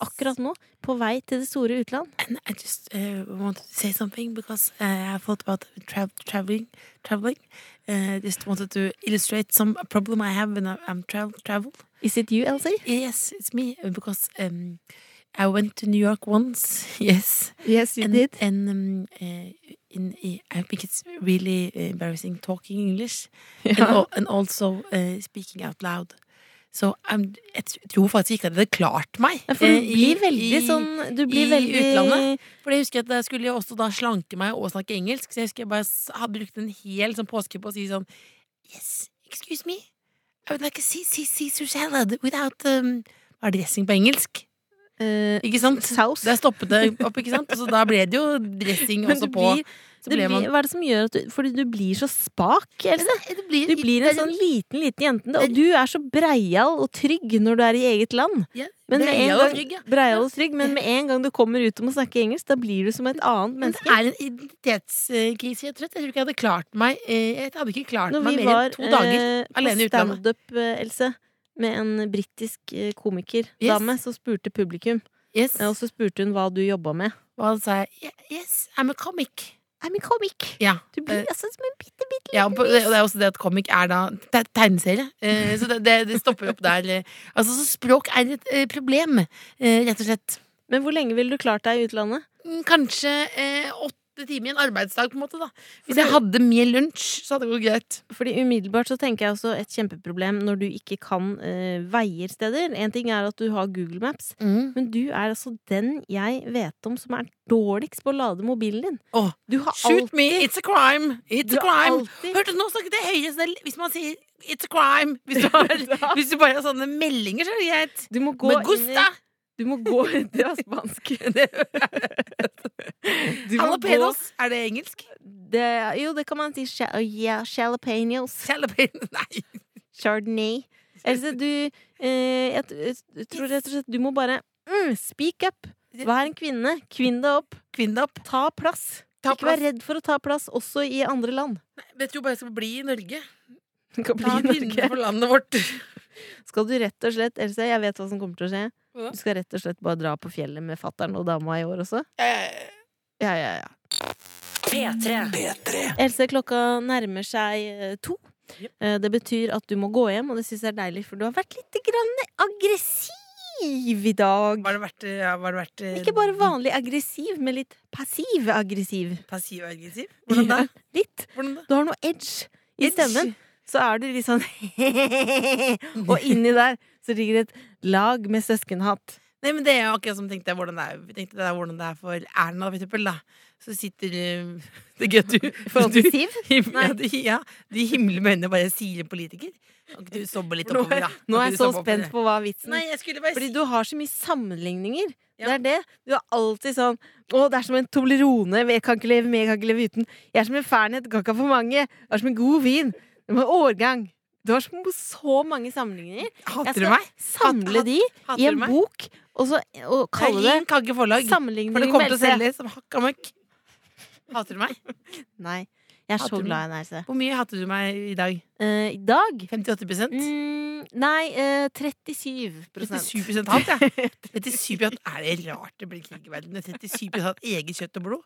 S3: akkurat nå, på vei til det store utland.
S4: And I just uh, want to say something because uh, I thought about tra traveling. traveling. Uh, just wanted to illustrate some problem I have when I- I'm tra travel.
S3: Is it you, Elsie?
S4: Yes, it's me because um, I went to New York once. Yes.
S3: Yes,
S4: and, and um, uh, in, I think it's really eh, embarrassing talking English and, al- and also uh, speaking out loud. Så um, jeg tr- tror faktisk ikke at det hadde klart meg.
S3: Ja, for du
S4: eh, i-
S3: blir veldig
S4: i-
S3: sånn Du blir
S4: i
S3: veldig
S4: utlandet. For jeg husker at jeg skulle jeg også da slanke meg og snakke engelsk, så jeg husker jeg bare s- hadde brukt en hel sånn påske på å si sånn Yes, excuse me. I would like a sea- sea- Caesar salad without um, Hva er dressing på engelsk?
S3: eh,
S4: Ikke sant?
S3: saus.
S4: Der stoppet det opp, ikke sant? Så da ble det jo dressing
S3: Men
S4: også
S3: du
S4: på.
S3: blir-
S4: Så
S3: det
S4: ble man
S3: blir, hva er det som gjør at du Fordi du blir så spak, Else.
S4: det blir,
S3: Du blir en sånn liten, liten jente. Og du er så breial og trygg når du er i eget land.
S4: ja,
S3: Men med en
S4: breial og
S3: gang,
S4: trygg, ja.
S3: breial og trygg, men med en gang du kommer ut og må snakke engelsk, da blir du som et annet
S4: Men det
S3: menneske.
S4: er en identitetskrise. Jeg tror jeg tror ikke jeg hadde klart meg eh, Jeg hadde ikke klart
S3: Når
S4: meg
S3: vi
S4: mer
S3: var
S4: enn to dager
S3: eh,
S4: alene
S3: på
S4: i utlandet.
S3: standup, eh, Else, med en britisk eh, komikerdame, så spurte publikum,
S4: Yes.
S3: eh, og så spurte hun hva du jobba med.
S4: Og han sa jeg, Yes, I'm a comic.
S3: I'm a comic.
S4: Ja.
S3: Du blir
S4: Eh,
S3: altså som en bitte, bitte
S4: Ja, og på- det og det er også det at comic er da te- tegneserie. Eh, Så det, det, det stopper opp der. eh. Altså, så språk er et eh, problem, eh, rett og slett.
S3: Men hvor lenge ville du klart deg i utlandet?
S4: Mm, Kanskje eh, åtte timer i en arbeidsdag, på en måte. da Hvis jeg hadde min lunsj, så hadde det gått greit.
S3: Fordi umiddelbart så tenker jeg også et kjempeproblem når du ikke kan eh, veier steder. En ting er at du har Google Maps,
S4: Mm.
S3: men du er altså den jeg vet om som er dårligst på å lade mobilen din.
S4: Åh,
S3: du har
S4: Shoot
S3: alt-
S4: me! It's a crime! It's
S3: du
S4: a
S3: har
S4: crime!
S3: alltid-
S4: Hørte du, nå snakket jeg høyere selv hvis man sier it's a crime! Hvis du, har, hvis du bare har sånne meldinger, så er det greit.
S3: Du må gå
S4: Men
S3: inn
S4: gusta!
S3: i Du må gå Det var spansk. Du må gå-
S4: Jalapeños! Er det engelsk?
S3: Det, jo, det kan man si. oh, Sja- Ja, jalapeños.
S4: Jalapeños? Nei.
S3: Chardonnay. Else, du eh, jeg, t- jeg tror rett og slett du må bare mm, speak up. Vær en kvinne. Kvinn deg opp.
S4: Kvinne opp.
S3: Ta plass.
S4: Ta
S3: Ikke vær redd for å ta plass, også i andre land.
S4: Jeg tror bare jeg skal bli i Norge.
S3: Du kan bli
S4: Ta
S3: i
S4: pinne
S3: Norge.
S4: for landet vårt.
S3: Skal du rett og slett, Else, jeg vet hva som kommer til å skje.
S4: Hva da?
S3: Du skal rett og slett bare dra på fjellet med fattern og dama i år også?
S4: Eh,
S3: Ja, ja, ja.
S1: P3.
S3: Else, klokka nærmer seg eh, to. Eh, Det betyr at du må gå hjem, og det syns jeg er deilig, for du har vært litt grann aggressiv i dag.
S4: Var det verdt, ja, var det verdt eh,
S3: Ikke bare vanlig aggressiv, men litt passiv-aggressiv.
S4: Passiv-aggressiv? Hvordan da?
S3: Litt.
S4: Hvordan da?
S3: Du har noe edge i
S4: Edge?
S3: stemmen. Så er du litt sånn Og inni der så ligger et lag med søskenhatt.
S4: Nei, men det er jo akkurat som tenkte jeg hvordan det er, vi tenkte det er hvordan det er for Erna, for eksempel, da. Så sitter eh, det er gøy at du,
S3: forhold
S4: du
S3: til Siv.
S4: him, ja, de, ja, de himler med øynene og bare sier en politiker. Kan ikke du sobbe litt
S3: Nå
S4: oppover, da?
S3: Nå
S4: Kan
S3: er
S4: ikke
S3: jeg
S4: du
S3: så
S4: sobbe oppover?
S3: spent på hva vitsen
S4: Nei, jeg skulle bare
S3: Fordi
S4: si
S3: du har så mye sammenligninger.
S4: Ja.
S3: Det er det. Du er alltid sånn Å, det er som en Toblerone. Jeg kan ikke leve med, jeg kan ikke leve uten. Jeg er som en Fernet, kan ikke ha for mange. Jeg er som en god vin. Det var årgang. Du har så- så mange sammenligninger. Jeg
S4: Hater du
S3: skal
S4: meg?
S3: samle
S4: Hat-
S3: de
S4: Hater
S3: i
S4: du
S3: en
S4: meg?
S3: bok, og så og kalle
S4: Ring
S3: det
S4: Kagge forlag, for det
S3: Sammenligning
S4: kommer til å
S3: Else.
S4: selge som hakka møkk. Hater du meg?
S3: Nei. Jeg er
S4: Hater
S3: så
S4: du
S3: glad i deg, Else.
S4: Hvor mye hater du meg i dag?
S3: Eh, I dag
S4: 58
S3: mm, Nei, eh, 37
S4: 37 hat, ja. 37 hat, er det rart det blir krig i verden? med 37 hat eget kjøtt og blod?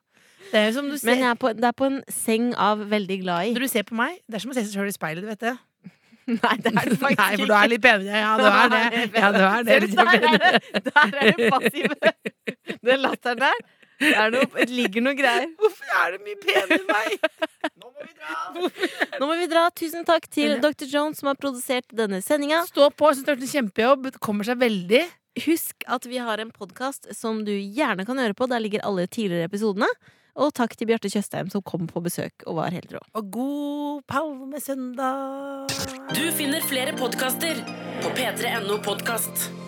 S4: Det er jo som du ser
S3: Men jeg er på, det er på en seng av veldig glad i.
S4: Når du ser på meg, det er som å se seg sjøl i speilet, du vet det.
S3: Nei, det er det faktisk
S4: Nei, for du er litt penere. Ja, du er det. Ja, du er det.
S3: Ser du, der er det, der er det passive. Den latteren der. Det, er noe, det ligger noe greier.
S4: Hvorfor er det mye penere enn meg?
S3: Nå må vi dra. Tusen takk til Dr. Jones, som har produsert denne sendinga.
S4: Stå på, syns det har vært en kjempejobb. Det Kommer seg veldig.
S3: Husk at vi har en podkast som du gjerne kan høre på. Der ligger alle tidligere episodene. Og takk til Bjarte Tjøstheim, som kom på besøk og var helt rå.
S4: Og god palmesøndag.
S1: Du finner flere podkaster på p3.no podkast.